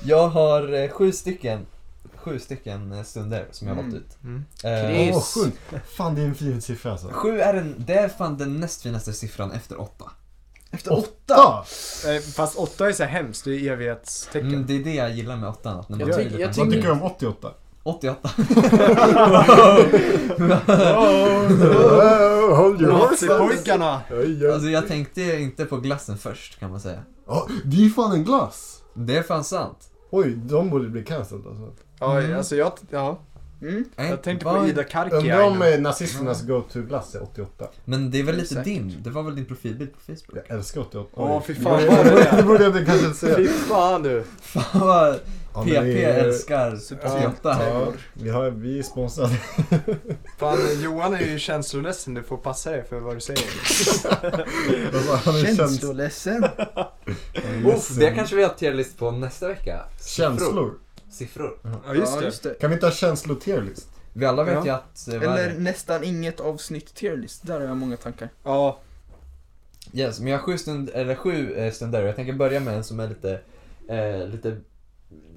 jag har eh, sju stycken, sju stycken eh, stunder som jag har valt
Mm.
ut.
Mm.
Eh,
Chris.
Åh, sjukt! Fan, det är en fin siffra alltså.
sju är den, det är fan den näst finaste siffran efter åtta.
Efter åtta?
Ja!
Eh, Fast åtta är så här hemskt, det är evighetstecken.
Mm, det är det jag gillar med åttan. Att när man blir
Jag tycker-
lite-
jag
Vad tycker du om 88?
88.
Oh, hold your horses!
Nazipojkarna!
Oj, oj.
Alltså jag tänkte ju inte på glassen först kan man säga.
Ja, det är ju fan en glass!
Det är fan sant.
Oj, de borde bli cancelled alltså.
Ja,
Mm.
alltså jag, ja.
Mm.
jag tänkte på
Vad-
Ida Karkiainen.
Undrar om eh, nazisternas go-to-glass är 88.
Men det är väl lite
Exakt.
din, det var väl din profilbild på Facebook?
Jag älskar 88.
Åh, fy fan,
Det
var det det?
borde- Det borde jag inte kanske inte
Fy
säga.
fan du.
Fan vad
Ja, men
PP
det är-
älskar
Ja.
88.
Ja, vi, har, vi är sponsrade.
Fan, Johan är ju känsloledsen, du får passa dig för vad du säger.
Alltså, han är käns-
Känsloledsen.
Oof, det kanske vi har tierlist på nästa vecka.
känslor.
Siffror.
Ja, just
Ja,
det.
just det.
Kan vi inte ha känsloterlist?
Vi alla vet
Ja.
ju att... eh, vad är
Eller
det?
nästan inget avsnitt tierlist. Där har jag många tankar.
Ja,
Yes,
Men jag har sju, stund, eller sju eh, stunder jag tänker börja med en som är lite, eh, lite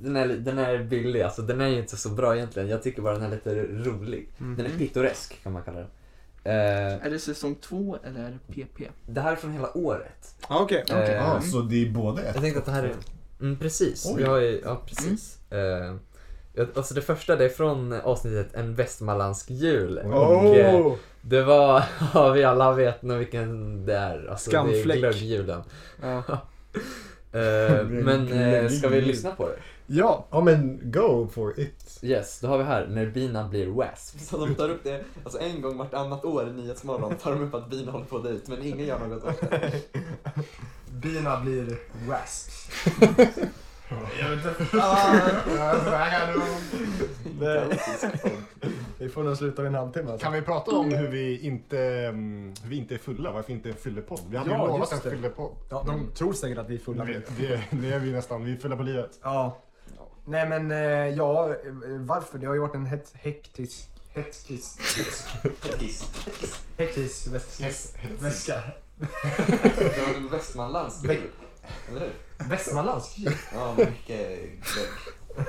den är, den är billig, alltså den är ju inte så bra egentligen. Jag tycker bara den är lite rolig.
Mm.
Den är
Mhm.
pittoresk kan man kalla den. Eh,
Är det säsong två eller är det PP?
det här är från hela året.
ja okej.
Okej.
Eh,
Ja, så det är både ett
Jag tänkte att det här är... Mm, precis.
Oj.
Jag är, ja, precis. Eh, jag- alltså det första det är från avsnittet En västmanländsk jul.
Oj.
Och, eh,
Oh.
det var, ja, vi alla vet nog vilken det är. Alltså, Det är
Skamfläck.
glöggjulen.
Ja.
Eh, men eh, ska vi lyssna på det?
ja.
Ja men go for it.
Yes, då har vi här när bina blir wasp. Så de tar upp det, alltså en gång vartannat år i Nyhetsmorgon tar de upp att bina håller på att dö ut men ingen gör något åt det.
Bina blir wasps. Nej. Vi får nog sluta vid en halvtimme alltså.
Kan vi prata om hur vi inte, mm, hur vi inte är fulla? Varför inte en fyllepodd? Vi hade
Ja,
ju lovat
just
en
det.
fyllepodd.
Ja, de tror säkert att vi är fulla.
Det, det, det är vi nästan. Vi är fulla på livet.
Ja. Nej men eh, ja, eh, varför? Det har ju varit en het, hektisk... Hektisk... Hektisk väs-
Yes.
väska.
Det var en västmanländsk jul, eller hur?
Västmanlands
Ja, mycket glögg.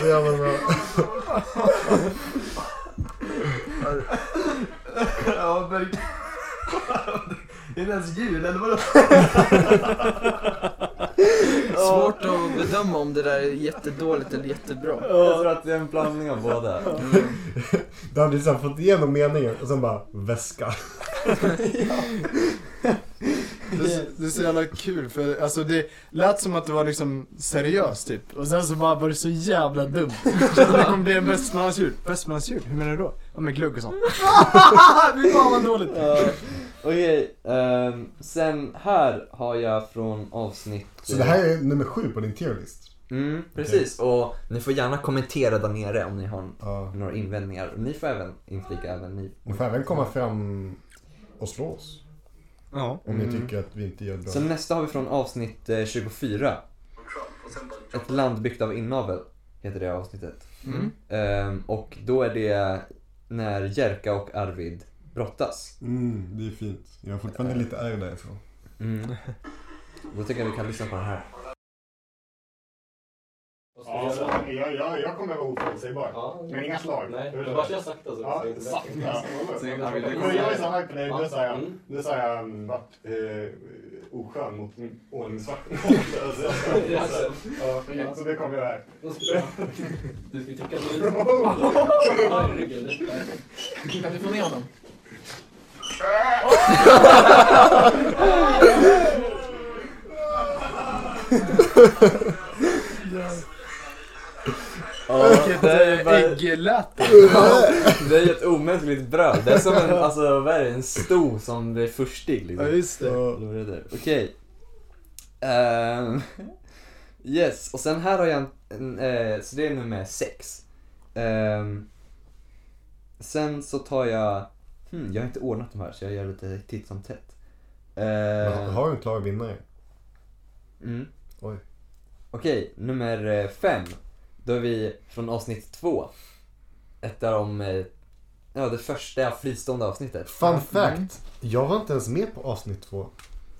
Så jävla bra.
Ja, verkligen. Är det ens jul eller vadå?
Svårt att bedöma om det där är jättedåligt eller jättebra.
Jag tror att det är en blandning av båda.
Du hade liksom fått igenom meningen och sen bara väska.
Det, är- det är så jävla kul för alltså det lät som att det var liksom seriöst typ. Och sen så bara var det så jävla dumt. Så att det kommer bli en västmanlandsjul. Västmanlandsjul? Hur menar du då? Ja med glögg och sånt. Fy fan vad dåligt.
Okej, ehm, sen här har jag från avsnitt...
Så det här är nummer sju på din tierlist.
Mm, precis. Och ni får gärna kommentera där nere om ni har
Ja.
några invändningar. Ni får även inflika även ni.
Ni får även komma fram och slå oss.
Ja.
Om ni
Mm.
tycker att vi inte gör bra.
Så nästa har vi från avsnitt eh, 24. Ett land byggt av inavel heter det avsnittet.
Mm.
Ehm, och då är det när Jerka och Arvid brottas.
Mm, det är fint. Jag är fortfarande lite ärr därifrån.
Mm. Då tycker jag vi kan lyssna på den här.
Ja, jag, jag, jag kommer vara oförutsägbar. Men inga slag.
jag sakta så.
Ja, sagt. Ja. Men Jag är så här på dig. Nu sa jag, nu sa jag mm, vart eh, oskön mot min ordningsvakt. Mm. Ja, Så det kommer jag här.
Du ska tycka
Kan du få med honom?
Vilket eh, äggläte.
Det är alltså, ju ett omänskligt bröd. Det är som en, alltså, vad är det, en sto som blir förstig liksom.
Ja just det.
Då är det där. Okej. Ehm, yes, och sen här har jag en, en eh, så det är nummer sex. Ehm, sen så tar jag, hmm, jag har inte ordnat de här så jag gör lite titt som tätt. Ehm,
Men Eh, Har du en klar vinnare?
mm.
Oj.
Okej, nummer eh, fem. Då är vi från avsnitt två. Ett av de, eh, ja det första fristående avsnittet.
Fun fact! Jag var inte ens med på avsnitt två.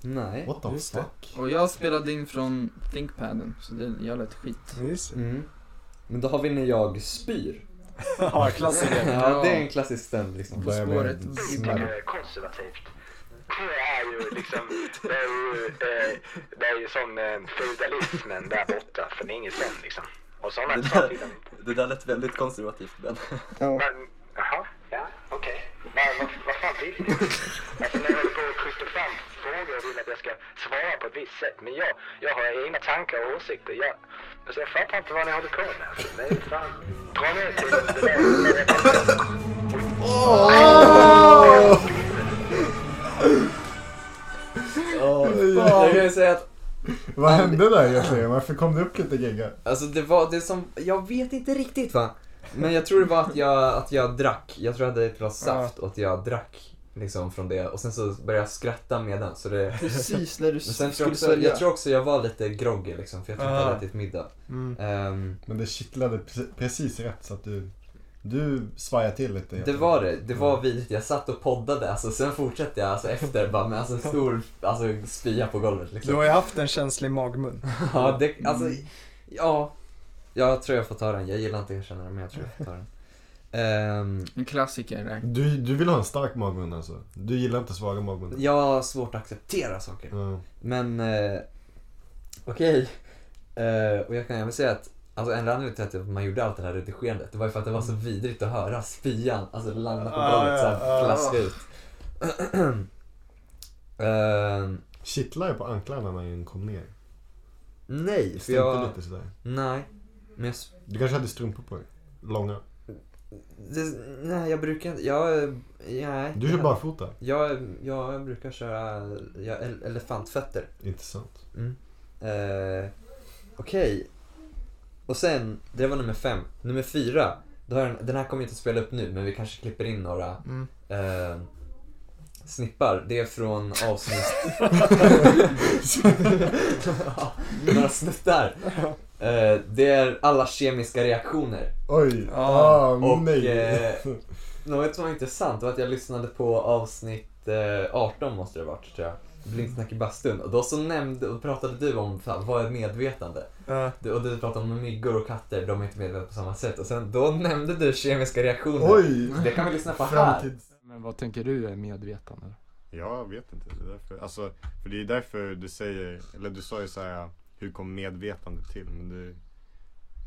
Nej.
What the
Just det.
fuck?
Och jag spelade in från thinkpaden, så det, jag lät skit.
Just det.
Mm. Men då har vi när jag spyr.
Ja, klassiker.
Ja, det är en klassisk stöld liksom.
På
Börjar med
spåret.
en
mycket
smäll.
mer konservativt. Det är ju liksom, det är ju, eh, det är ju sån eh, feudalismen där borta för länge sedan liksom. Och sådana
Det
saker. liksom.
där, det där lät väldigt konservativt Ben.
Ja.
Men, jaha, ja, okej. Men vad, vad fan vill ni? Alltså när jag håller på och skjuter fram frågor och vill att jag ska svara på ett visst sätt. Men jag, jag har egna tankar och åsikter. Jag, alltså jag fattar inte vad ni håller på med. Alltså, det är ju fan, dra ner till det där. det där-
Jag kan ju säga att
Vad hände där egentligen? Varför kom det upp lite geggar?
Alltså det var det som, jag vet inte riktigt va. Men jag tror det var att jag, att jag drack, jag tror jag hade ett glas saft och att jag drack liksom från det och sen så började jag skratta medan så det
Precis när du Ah.
men sen tror
skulle
jag, också,
sälja.
jag tror också jag var lite groggy liksom för jag tror inte jag hade ätit middag.
Mm.
Ehm,
Men det kittlade pre- precis rätt så att du, du svajade till lite.
det var det, det var vidrigt. Jag satt och poddade alltså sen fortsatte jag alltså efter bara med alltså en stor alltså, spya på golvet
Du
liksom.
har ju haft en känslig magmun.
Ja, det, alltså, ja. Jag tror jag får ta den, jag gillar inte erkännandet men jag tror jag får ta den. Ehm,
En klassiker. där.
Du, du vill ha en stark magmun alltså? Du gillar inte svaga magmunnar?
jag har svårt att acceptera saker.
Ja.
Men eh, okej. Eh, och jag kan även säga att alltså, en anledning till att man gjorde allt det här redigerandet det var ju för att det var så vidrigt att höra spyan alltså landa på
Ah,
golvet
ja,
såhär
ah.
plaska ut. Eh,
Kittlar jag på anklarna när den kom ner?
nej, för
Stänkte
jag...
lite sådär.
Nej. Men jag, s-
Du kanske hade strumpor på dig? Långa?
det, nej, jag brukar inte... Jag... eh, Nej.
Du kör barfota?
Jag, jag brukar köra jag, ele- elefantfötter.
Intressant.
Eh, Okej. Och sen, det var nummer fem. Nummer fyra. Då har den, den här kommer jag inte att spela upp nu, men vi kanske klipper in några
Mm.
eh, snippar. Det är från avsnitt... Ja, några snuttar. Eh, det är alla kemiska reaktioner.
Oj!
Ja,
ah,
och,
nej!
eh, Något som var intressant var att jag lyssnade på avsnitt eh, 18 måste det ha varit tror jag. Blindsnack i bastun. Och då så nämnde och pratade du om fan, vad är medvetande?
Ja.
Du, och du pratade om myggor och katter, de är inte medvetna på samma sätt. Och sen då nämnde du kemiska reaktioner.
Oj!
Det kan vi lyssna på här.
Framtids...
Men vad tänker du är medvetande?
Jag vet inte. Det är därför, alltså, för det är därför du säger, eller du sa ju så här, hur kom medvetande till? Men du,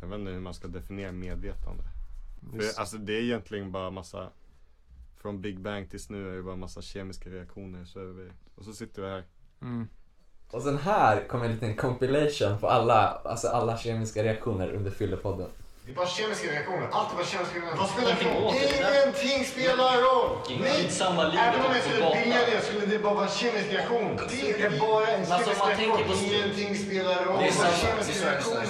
jag vet inte hur man ska definiera medvetande. För, alltså det är egentligen bara massa, från Big Bang tills nu är det bara massa kemiska reaktioner. Så är vi, och så sitter vi här.
Mm.
Och sen här kom en liten compilation på alla, alltså alla kemiska reaktioner under Fyllepodden.
Det är bara kemiska reaktioner. Allt är bara kemiska reaktioner. Vad spelar det roll? Ingenting spelar roll! Nej! Även om jag skulle vilja det skulle det bara vara en kemisk reaktion. Alltså, Det är bara en kemisk reaktion. Ingenting spelar roll. Det är kemiska reaktioner.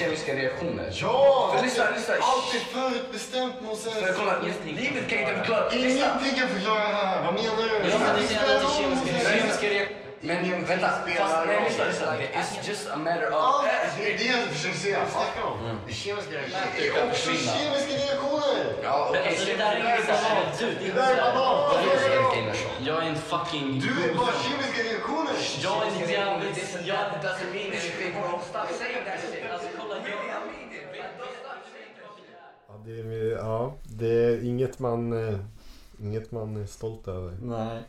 Kemiska reaktioner.
Ja!
För lyssna, lyssna.
Allt är förutbestämt nonsens.
kolla, livet kan inte förklaras.
Ingenting kan förklara det här. Vad menar du? Ingenting spelar roll. nonsens.
Men vänta, fast nej lyssna, lyssna. It's just a matter
Allt,
of... Mm.
det är det jag försöker säga. Snacka om. Det är kemiska reaktioner. Det är också kemiska reaktioner.
Ja, okej. så alltså, Det där är inte så.
Det där är banan. Vad menar du?
Jag är en fucking...
Du är bara kemiska reaktioner.
Jag är en jävligt... Jag är inte min energi. Säg that shit. Alltså kolla,
Ja, det är, ja, det är inget man... eh, Inget man är stolt över.
Nej.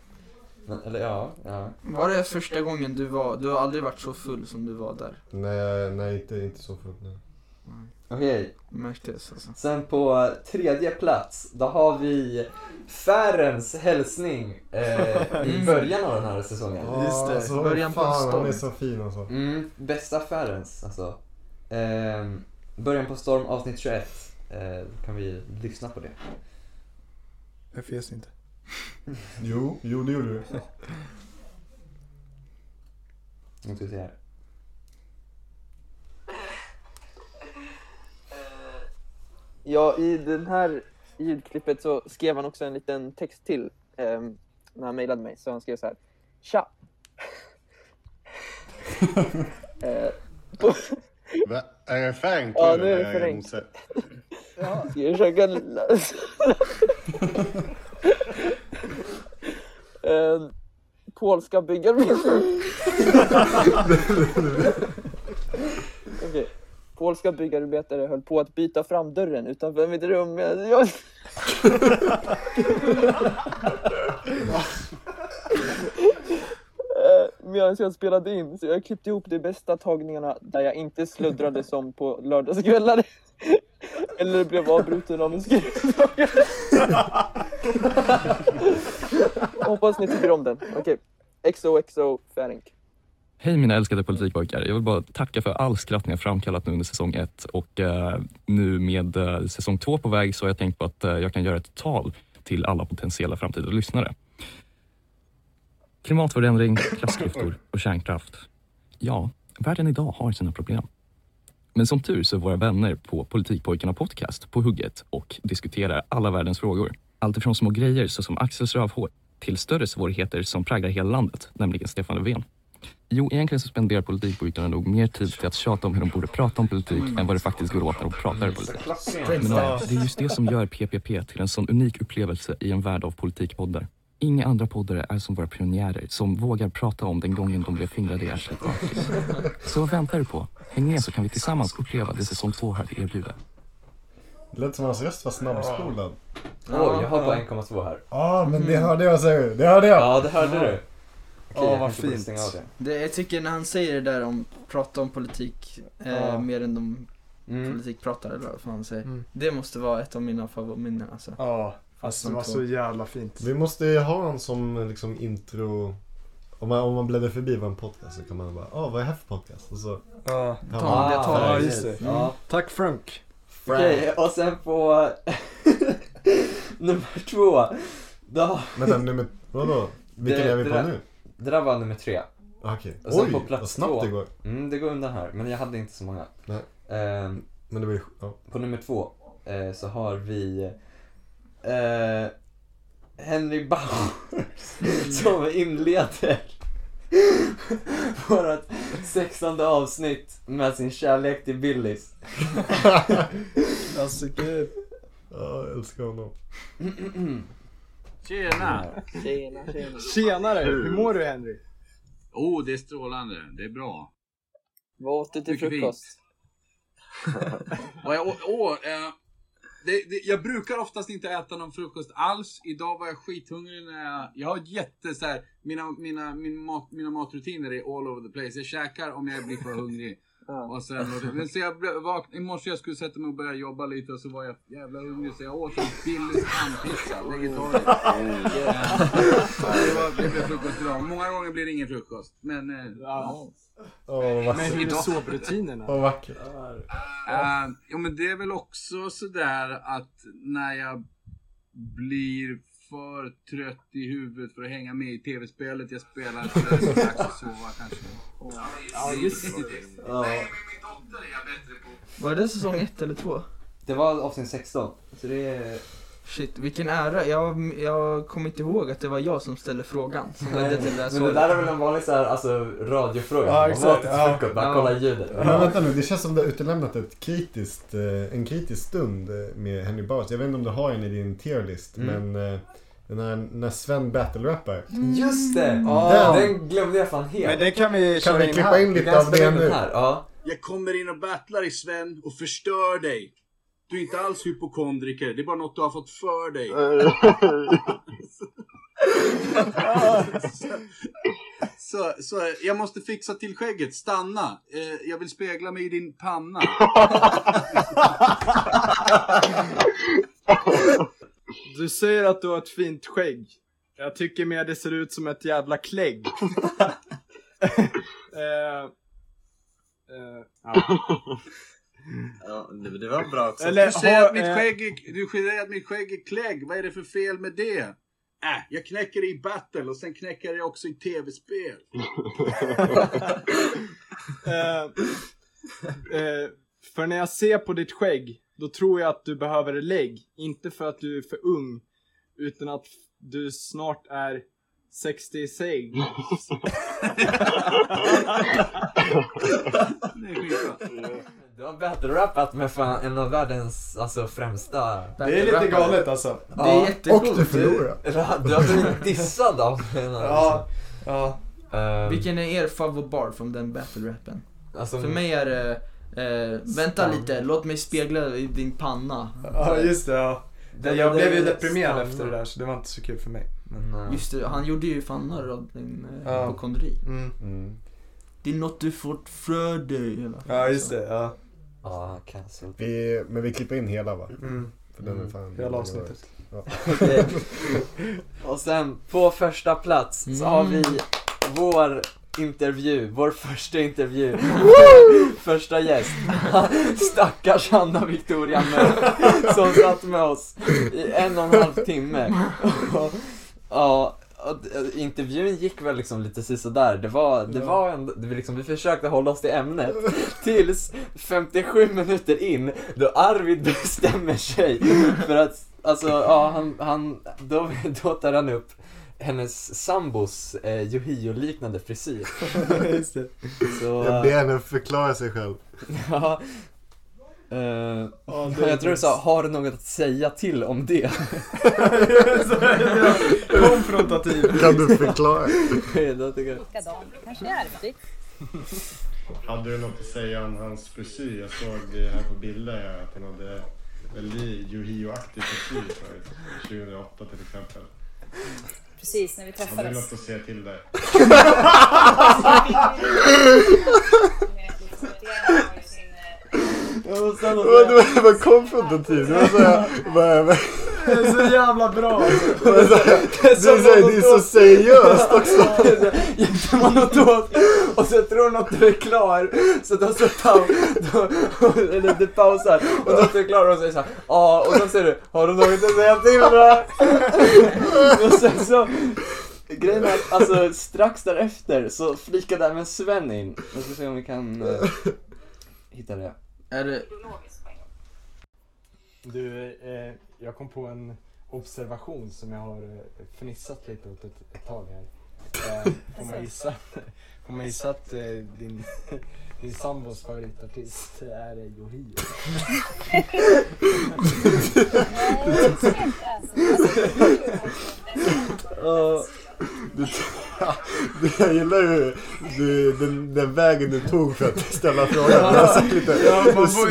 Men, eller ja, ja.
Var det första gången du var, du har aldrig varit så full som du var där?
Nej, nej inte, inte så fullt nu.
Okej,
Märktes alltså.
Sen på tredje plats, då har vi Färens hälsning eh, i början av den här säsongen.
Just det, alltså,
början på en
fan,
storm.
han är så fin alltså.
Mm, bästa Färens alltså. Ehm, början på Storm avsnitt 21. Eh, kan vi lyssna på det?
Jag fes inte.
Jo, jo det gjorde du.
Nu ska vi se här.
Ja, i den här ljudklippet så skrev han också en liten text till ehm, när han mejlade mig. Så han skrev så här. Tja! eh, på,
Va? Är det färg
Ja, nu är det färg. ska jag försöka... eh, polska byggarbetare. Okej.
polska byggarbetare höll på att byta fram dörren utanför mitt rum. Jag, jag... Eh, Medan jag spelade in, så jag klippte ihop de bästa tagningarna där jag inte sluddrade som på lördagskvällar. Eller blev avbruten av en skruvdragare. Hoppas ni tycker om den. Okej. XOXO Färink.
Hej mina älskade politikpojkar. Jag vill bara tacka för all skratt ni har framkallat nu under säsong ett och eh, nu med eh, säsong två på väg så har jag tänkt på att eh, jag kan göra ett tal till alla potentiella framtida lyssnare. Klimatförändring, klassklyftor och kärnkraft. Ja, världen idag har sina problem. Men som tur så är våra vänner på Politikpojkarna Podcast på hugget och diskuterar alla världens frågor. Alltifrån små grejer såsom Axels rövhår till större svårigheter som präglar hela landet, nämligen Stefan Löfven. Jo, egentligen så spenderar politikpojkarna nog mer tid till att tjata om hur de borde prata om politik än vad det faktiskt går åt när de pratar om politik. Men nej, det är just det som gör PPP till en sån unik upplevelse i en värld av politikpoddar. Inga andra poddare är som våra pionjärer som vågar prata om den gången de blev fingrade i arslet av Chris. Så vad väntar du på? Häng med så kan vi tillsammans uppleva det säsong två har att erbjuda.
Det lät som hans röst var snabbspolad.
Oj, jag har bara 1,2 här.
Ah,
Ja, men det hörde jag säger du. Det hörde jag.
Ja, det hörde du.
Ja,
jag
vad
kanske borde
fint.
stänga av det.
Det, jag tycker när han säger det där om prata om politik eh,
Ja.
mer än de
Mm.
politikpratare eller vad fan han säger.
Mm.
Det måste vara ett av mina favoritminnen alltså.
Ja, alltså det var så jävla fint.
Vi måste ju ha honom som liksom intro. Om man, om man bläddrar förbi vad en podcast så kan man bara, ah vad är det här för podcast? Och så,
Ja,
Ja,
Ta, det tar
Ah,
ja
jag.
just det. Mm.
Ja.
Tack Frank.
Okej, och sen på nummer två. Då,
vänta nummer, vadå? Vilken
Det-
är vi
det
på
där-
nu?
det där var nummer tre.
Ah, Okej,
Och sen
oj
på plats
vad snabbt
två.
det går.
Mm, det går undan här, men jag hade inte så många.
Nej.
Ehm,
Men det var ju, ja.
på nummer två eh, så har vi eh, Henry Bowers som inleder vårt sextonde avsnitt med sin kärlek till Billys.
Alltså gud.
Ja, jag älskar honom.
Tjena!
Tjena, tjena.
Tjenare, hur mår du Henry?
Oh, det är strålande. Det är bra.
Vad åt du till
Mycket fint.
frukost?
Vad jag, å- å, eh, det, det, jag brukar oftast inte äta någon frukost alls. Idag var jag skithungrig när jag... Jag har jätte så här, mina, mina, min mat, mina matrutiner är all over the place. Jag käkar om jag blir för hungrig.
Ja.
Och sen, men så jag blev vakn, I morse jag skulle sätta mig och börja jobba lite och så var jag jävla hungrig så jag åt en billig skampitta. Vegetariskt. Eh, Det, var- det blev frukost idag. Många gånger blir det ingen frukost. Men... Eh,
Åh, vad vackert.
Men hur är sovrutinerna?
Vad vackert.
Eh, ja men det är väl också sådär att när jag blir för trött i huvudet för att hänga med i tv-spelet jag spelar så är det dags att sova kanske. Ja just det.
Ja,
Var det säsong ett eller två?
det var avsnitt 16, så det är...
Shit, vilken ära. Jag, jag kommer inte ihåg att det var jag som ställde frågan. Som ledde till det här
Men det
svaret.
där är väl en vanlig så här, alltså, radiofråga.
Ja,
Man
exakt,
åt ett
ja.
frukost, bara
Ja.
kolla ljudet.
Men vänta nu, det känns som du har utelämnat ett kritiskt, eh, en kritisk stund eh, med Henry Bowers. Jag vet inte om du har en i din tierlist,
Mm.
men eh, den här, när Sven battle-rappar.
Just det!
Ja.
Den glömde jag fan helt.
Men det kan vi
Kan
köra
vi
in här.
klippa in
Vi
lite
kan
av
spela
det
in den
nu?
här. Ja.
Jag kommer in och battlar i Sven och förstör dig. Du är inte alls hypokondriker, det är bara något du har fått för dig. så, så jag måste fixa till skägget, stanna. Eh, jag vill spegla mig i din panna.
Du säger att du har ett fint skägg. Jag tycker mer det ser ut som ett jävla klägg. eh, eh, ja.
Ja, det, det var bra också.
Eller
Du säger
har,
att mitt
eh,
skägg är, du säger att mitt skägg är klägg, vad är det för fel med det? Äh, jag knäcker det i battle och sen knäcker jag det också i tv-spel.
eh, eh, för när jag ser på ditt skägg, då tror jag att du behöver lägg. Inte för att du är för ung, utan att du snart är 60 säg.
Det är skitbra.
Du har battle-rappat med fan en av världens alltså, främsta...
Det är lite galet alltså.
Det är jättecoolt.
Och du förlorar.
Du, du har blivit dissad av en av
Ja, ja.
Ehm,
Vilken är er favoritbar från den battle-rappen?
alltså,
För mig är det Eh, vänta
Stam.
lite, låt mig spegla i din panna.
Ja, just det. Ja.
Det-
jag
det-
blev ju
det-
deprimerad
stanna.
efter det där så det var inte så kul för mig.
eh,
Men,
Just det, han gjorde ju fan narr av din eh,
Ja.
hypokondri.
Mm.
Det är något du fått för dig. eller?
Ja, just det. Ja.
Ja, cancel.
Vi, men vi klipper in hela va?
Mm.
För den är
Mm.
fan...
Hela avsnittet.
Ja.
Okej. Och sen på första plats så har vi vår intervju, vår första intervju. första gäst. Stackars Anna Victoria Mörk som satt med oss i en och en halv timme. Och, ja, och d- intervjun gick väl liksom lite sisådär. Det var, det var ändå, det var liksom, vi försökte hålla oss till ämnet tills 57 minuter in då Arvid bestämmer sig för att, alltså ja, han, han då, då tar han upp hennes sambos eh, Yohio-liknande frisyr.
Just det.
Så,
Jag ber henne förklara sig själv.
Ja. Eh,
Ja, det är
jag tror du sa, har du något att säga till om det?
Konfrontativ.
Kan du förklara?
Okej, då tycker jag-
Likadant kanske det är butik.
Hade du något att säga om hans frisyr? Jag såg det här på bilder att han hade väldigt Yohio-aktig frisyr förut. 2008 till exempel.
Precis, när vi
Hade du
träffades.
något att säga till där?
Det var konfrontativt. Det var såhär... vad- vad-
Det är så jävla bra.
Det är såhär- det är såhär, det är så seriöst också.
man något åt och så tror något du är klar så då så pau, då, eller du pausar och då du är klar och säger såhär ja och då säger du har du något att säga till va? och sen så grejen är att alltså strax därefter så flikade även Sven in. Vi ska se om vi kan eh, hitta det.
Är det...
Du, eh, jag kom på en observation som jag har eh, fnissat lite åt ett, ett tag här. Eh, får man gissa, får man gissa att eh, din, din sambos favoritartist är eh, Yohio?
Ja. Du- du- Jag gillar ju du, den, den vägen du tog för att ställa frågan. Jag har sett lite små, små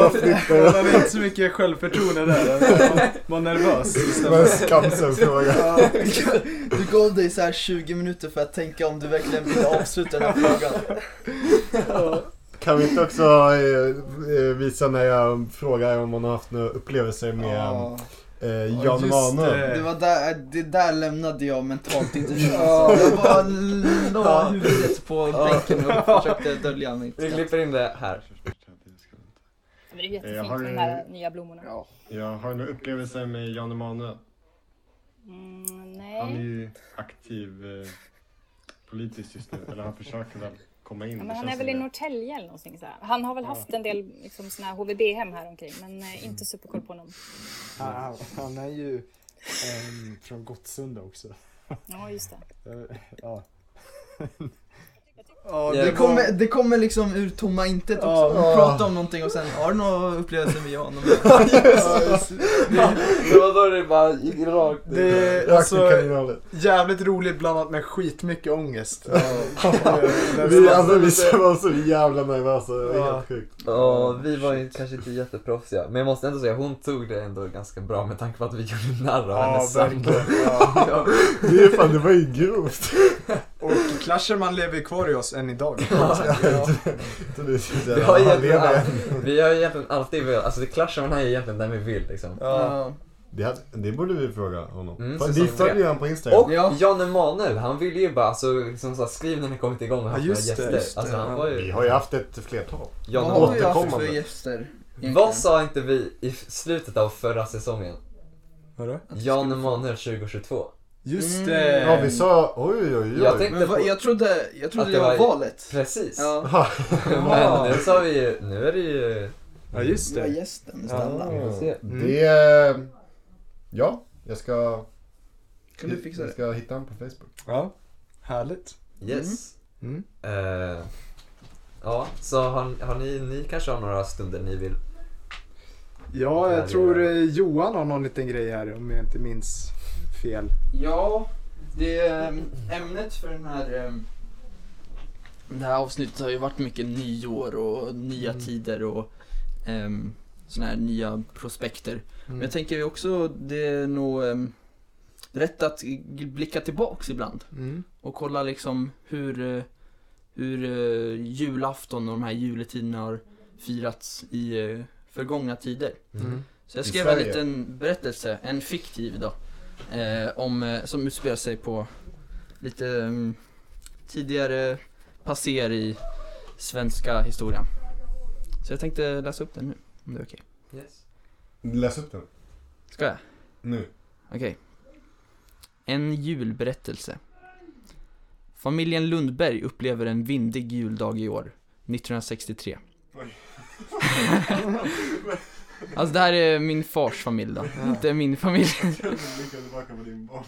Man
flipper.
hade inte så mycket självförtroende där. alltså. Man var nervös.
Men skamsen fråga.
Du gav dig så här 20 minuter för att tänka om du verkligen ville avsluta den här frågan.
Kan vi inte också eh, eh, visa när jag frågar om hon har haft några upplevelser med
Ja.
eh, Jan Emanuel?
Det var där, eh, det där lämnade jag mentalt intervjun. alltså. Jag bara la huvudet på bänken och försökte dölja mitt
Vi klipper in det här.
Men det är
Jag
jättefint
har
med de
ju-
här nya blommorna.
Jag har några upplevelser med Jan Emanuel.
Mm,
Han är
nej.
ju aktiv eh, politiskt just nu. Eller han försöker väl komma in.
Ja,
Det
men han
känns
är
som
väl i
det.
Norrtälje eller någonting så här. Han har väl
Ja. Mm.
haft en del liksom, såna här HVB-hem här omkring men eh, inte superkoll på honom.
Han, Ah, han är ju ehm, från Gottsunda också.
Ja, just det.
Eh, Ja.
Det kommer, det kommer liksom ur tomma intet också.
Ja.
Vi pratar om någonting och sen har du några upplevelser med Jan?
Det var då det bara gick rakt
Det är
Rakt i
alltså
kaninhålet.
jävligt roligt blandat med skitmycket ångest.
Vi, alltså, vi var så jävla nervösa. Det var helt sjukt.
Ja, vi var ju kanske inte jätteproffsiga. Men jag måste ändå säga, hon tog det ändå ganska bra med tanke på att vi gjorde narr av
Ja,
hennes sambo.
verkligen. Ja.
Ja.
Det, är fan, det var ju grovt.
Och Clasherman lever kvar i oss än idag.
Så det är så
Vi
jävla-
har,
han
egentligen,
lever än.
all- vi har egentligen alltid velat, alltså det clashar man här är egentligen där vi vill liksom.
Ja.
Det, hade- det borde vi fråga honom.
Mm,
Fan,
säsong
vi följer
tre.
ju han på Instagram.
Och Jan Emanuel, han ville ju bara, alltså liksom så här, skriv när ni kommit igång och haft några
just det,
gäster.
just det.
alltså han var
Vi
ju,
har ju haft ett flertal.
Jan
Vad har vi haft för
Återkommande.
gäster?
vad sa inte vi i f- slutet av förra säsongen?
Vadå?
Jan Emanuel 2022.
Mm.
Just det.
Ja, vi sa oj, oj, oj.
Jag tänkte
Men vad,
på-
jag trodde, jag trodde
Att
det
det
var
var-
valet.
Precis.
Ja,
Men nu sa vi ju, nu är det ju...
Ja, just
det var
det.
gästen Stella.
Vi får se.
Det... eh, Ja, jag ska...
Kan du fixa
jag
det?
ska hitta honom på Facebook.
Ja. Härligt.
Yes.
Mm.
Eh, ja, så har, har ni, ni kanske har några stunder ni vill?
Ja,
Ja, det
jag tror
gör
eh, Johan har någon liten grej här om jag inte minns fel.
ehm, Ja, det är ämnet för den här eh, ehm, Det här avsnittet har ju varit mycket nyår och nya tider och um, sådana här nya prospekter.
Mm.
Men jag tänker ju också det är nog ehm, rätt att g- blicka tillbaks ibland
Mm.
och kolla liksom hur, eh, hur eh, julafton och de här juletiderna har firats i eh, förgångna tider.
Mm.
Så jag
I
skrev en
Sverige.
liten berättelse, en fiktiv då, eh, om, eh, som utspelar sig på lite mm, tidigare passer i svenska historien. Så jag tänkte läsa upp den nu, om det är okej.
Yes.
Läs upp den.
Ska jag?
Nu.
Okej. En julberättelse. Familjen Lundberg upplever en vindig juldag i år, 1963. alltså det här är min fars familj då, inte min familj.
Lycka tillbaka på din barn.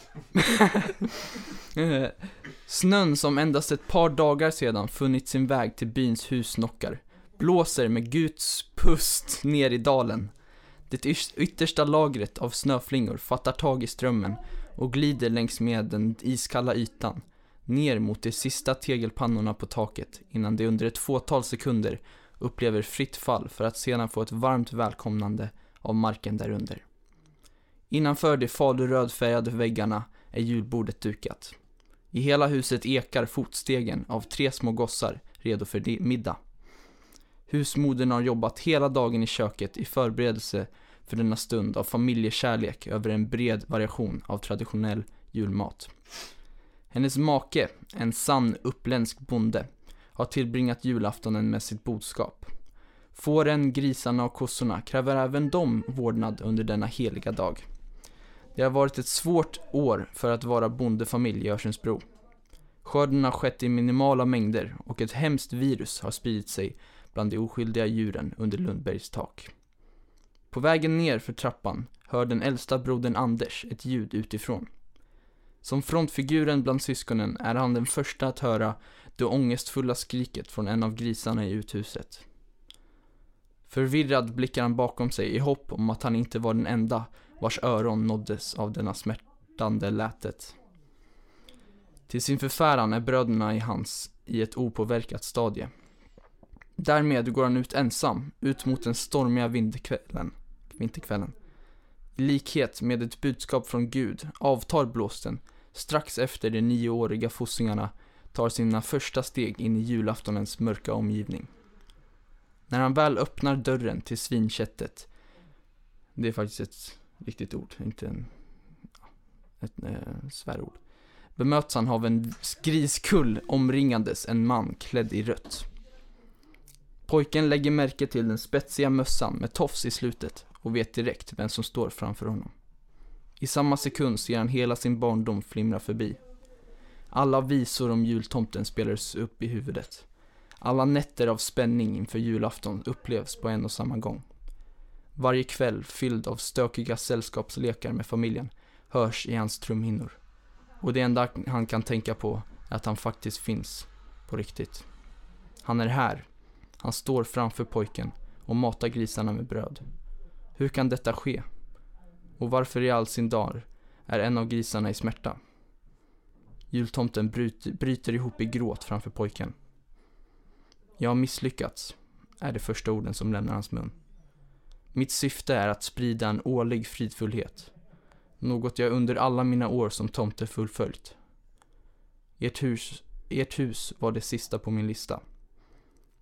Eh, Snön som endast ett par dagar sedan funnit sin väg till byns husnockar blåser med Guds pust ner i dalen. Det yrs- yttersta lagret av snöflingor fattar tag i strömmen och glider längs med den iskalla ytan ner mot de sista tegelpannorna på taket innan de under ett fåtal sekunder upplever fritt fall för att sedan få ett varmt välkomnande av marken därunder. Innanför de falu rödfärgade väggarna är julbordet dukat. I hela huset ekar fotstegen av tre små gossar redo för di- middag. Husmodern har jobbat hela dagen i köket i förberedelse för denna stund av familjekärlek över en bred variation av traditionell julmat. Hennes make, en sann uppländsk bonde, har tillbringat julaftonen med sitt boskap. Fåren, grisarna och kossorna kräver även de vårdnad under denna heliga dag. Det har varit ett svårt år för att vara bondefamilj i Örsundsbro. Skörden har skett i minimala mängder och ett hemskt virus har spridit sig bland de oskyldiga djuren under Lundbergs tak. På vägen ner för trappan hör den äldsta brodern Anders ett ljud utifrån. Som frontfiguren bland syskonen är han den första att höra det ångestfulla skriket från en av grisarna i uthuset. Förvirrad blickar han bakom sig i hopp om att han inte var den enda vars öron nåddes av denna smärtande lätet. Till sin förfäran är bröderna i hans i ett opåverkat stadie. Därmed går han ut ensam, ut mot den stormiga vinterkvällen. vinterkvällen. I likhet med ett budskap från Gud avtar blåsten strax efter de nioåriga fossingarna tar sina första steg in i julaftonens mörka omgivning. När han väl öppnar dörren till svinköttet, det är faktiskt ett riktigt ord, inte en, ett eh, svärord, bemöts han av en griskull omringandes en man klädd i rött. Pojken lägger märke till den spetsiga mössan med tofs i slutet och vet direkt vem som står framför honom. I samma sekund ser han hela sin barndom flimra förbi. Alla visor om jultomten spelades upp i huvudet. Alla nätter av spänning inför julafton upplevs på en och samma gång. Varje kväll fylld av stökiga sällskapslekar med familjen hörs i hans trumhinnor. Och det enda han kan tänka på är att han faktiskt finns på riktigt. Han är här. Han står framför pojken och matar grisarna med bröd. Hur kan detta ske? Och varför i all sin dar är en av grisarna i smärta? Jultomten bryter, bryter ihop i gråt framför pojken. Jag har misslyckats, är de första orden som lämnar hans mun. Mitt syfte är att sprida en årlig fridfullhet. Något jag under alla mina år som tomte fullföljt. Ert hus, ert hus var det sista på min lista.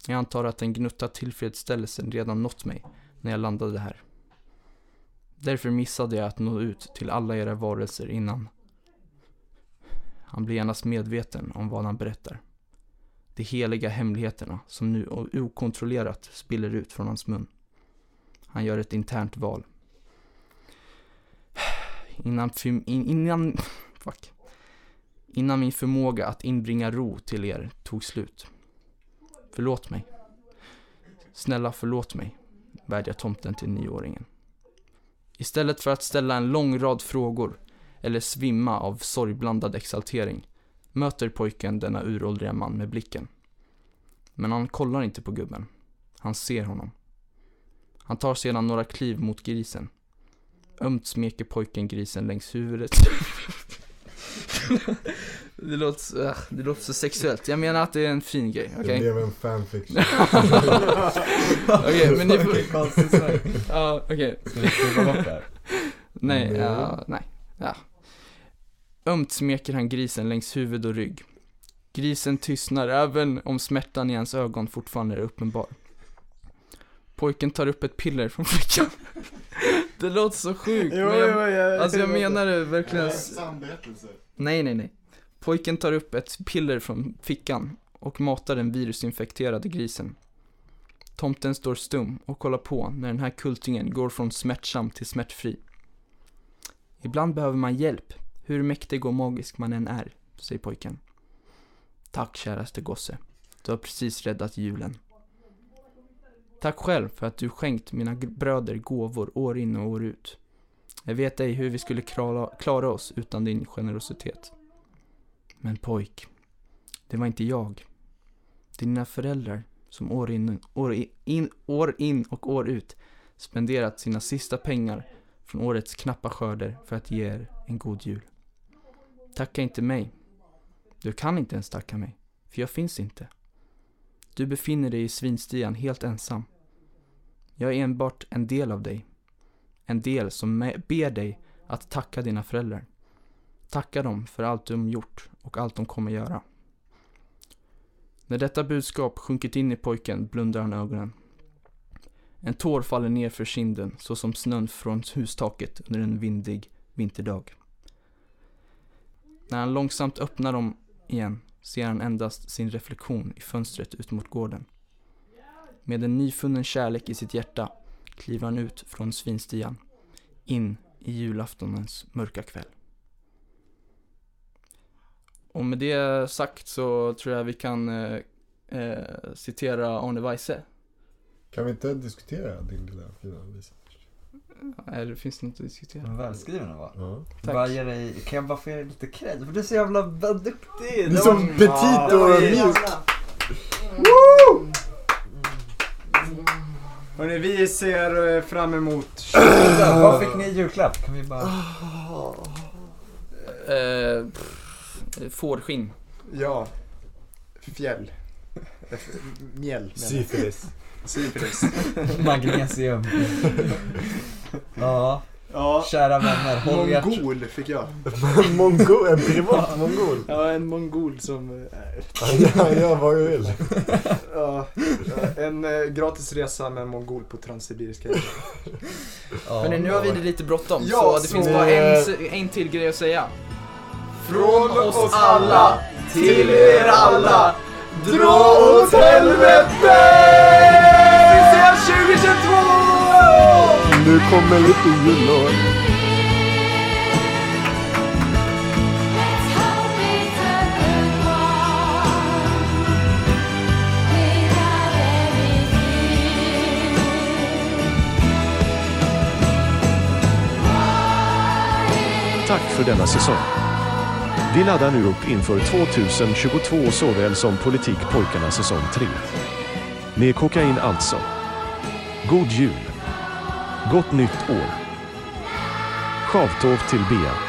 Jag antar att en gnutta tillfredsställelsen redan nått mig när jag landade här. Därför missade jag att nå ut till alla era varelser innan. Han blir genast medveten om vad han berättar. De heliga hemligheterna som nu okontrollerat spiller ut från hans mun. Han gör ett internt val. Innan, fym- in- innan, fuck. innan min förmåga att inbringa ro till er tog slut. Förlåt mig. Snälla förlåt mig, vädjar tomten till nioåringen. Istället för att ställa en lång rad frågor eller svimma av sorgblandad exaltering möter pojken denna uråldriga man med blicken. Men han kollar inte på gubben. Han ser honom. Han tar sedan några kliv mot grisen. Ömt smeker pojken grisen längs huvudet. Det låter, så- ah, det låter så sexuellt. Jag menar att det är en fin grej,
Det
okej?
blev en fanfiction.
okej, men ni
Vilken
får...
konstig sak.
ja, okej.
Ska vi skriva bort det här?
Nej,
Mm.
Nej.
ja, nej. Ja. Ömt smeker han grisen längs huvud och rygg. Grisen tystnar även om smärtan i hans ögon fortfarande är uppenbar. Pojken tar upp ett piller från fickan. Det låter så sjukt.
Jo,
men jag,
jo, jag-
alltså jag
det låter-
menar det
Det
verkligen.
är
s-
sann berättelse.
Nej, nej, nej. Pojken tar upp ett piller från fickan och matar den virusinfekterade grisen. Tomten står stum och kollar på när den här kultingen går från smärtsam till smärtfri. Ibland behöver man hjälp, hur mäktig och magisk man än är, säger pojken. Tack käraste gosse, du har precis räddat julen. Tack själv för att du skänkt mina gr- bröder gåvor år in och år ut. Jag vet ej hur vi skulle klara, klara oss utan din generositet. Men pojk, det var inte jag. Dina föräldrar som år in, år i- in, år in och år ut spenderat sina sista pengar från årets knappa skörder för att ge er en god jul. Tacka inte mig. Du kan inte ens tacka mig, för jag finns inte. Du befinner dig i svinstian helt ensam. Jag är enbart en del av dig. En del som me- ber dig att tacka dina föräldrar. Tacka dem för allt de gjort och allt de kommer göra. När detta budskap sjunkit in i pojken blundar han ögonen. En tår faller ner för kinden så som snön från hustaket under en vindig vinterdag. När han långsamt öppnar dem igen ser han endast sin reflektion i fönstret ut mot gården. Med en nyfunnen kärlek i sitt hjärta kliver han ut från svinstian in i julaftonens mörka kväll. Och med det sagt så tror jag vi kan eh, eh, citera Arne Weise.
Kan vi inte diskutera din lilla fina visa?
Eller finns det något att diskutera?
Men välskriven den var.
Ja.
Tack.
Bara ge dig, kan jag bara få ge dig lite cred? För du är så jävla vad duktig!
Du är
Det
så
var-
petit
Ja, det
och
var-
mjuk.
Mm. Hörni, vi ser eh, fram emot...
Vad fick ni i julklapp? Kan vi bara...
Eh, pff, eh, Fårskinn.
Ja. Fjäll. Mjäll.
Syfilis.
Syfilis.
Magnesium. ja.
Ja.
Kära vänner, håll er...
Mongol fick jag.
mongol? En privat mongol?
Ja, en mongol som... eh,
Ja, gör vad du vill.
Ja, ja, en eh, gratis resa med en mongol på Transsibiriska.
Hörni, nu har vi det lite bråttom
Ja,
så det
så-
finns bara en, se- en till grej att säga.
Från
oss alla till er alla.
Dra åt helvete! Vi ses 2022!
Nu kommer lite jullåt.
Tack för denna säsong. Vi laddar nu upp inför 2022 såväl som Politikpojkarna säsong 3. Med kokain alltså. God jul. Gott nytt år. Sjavtov till Bea.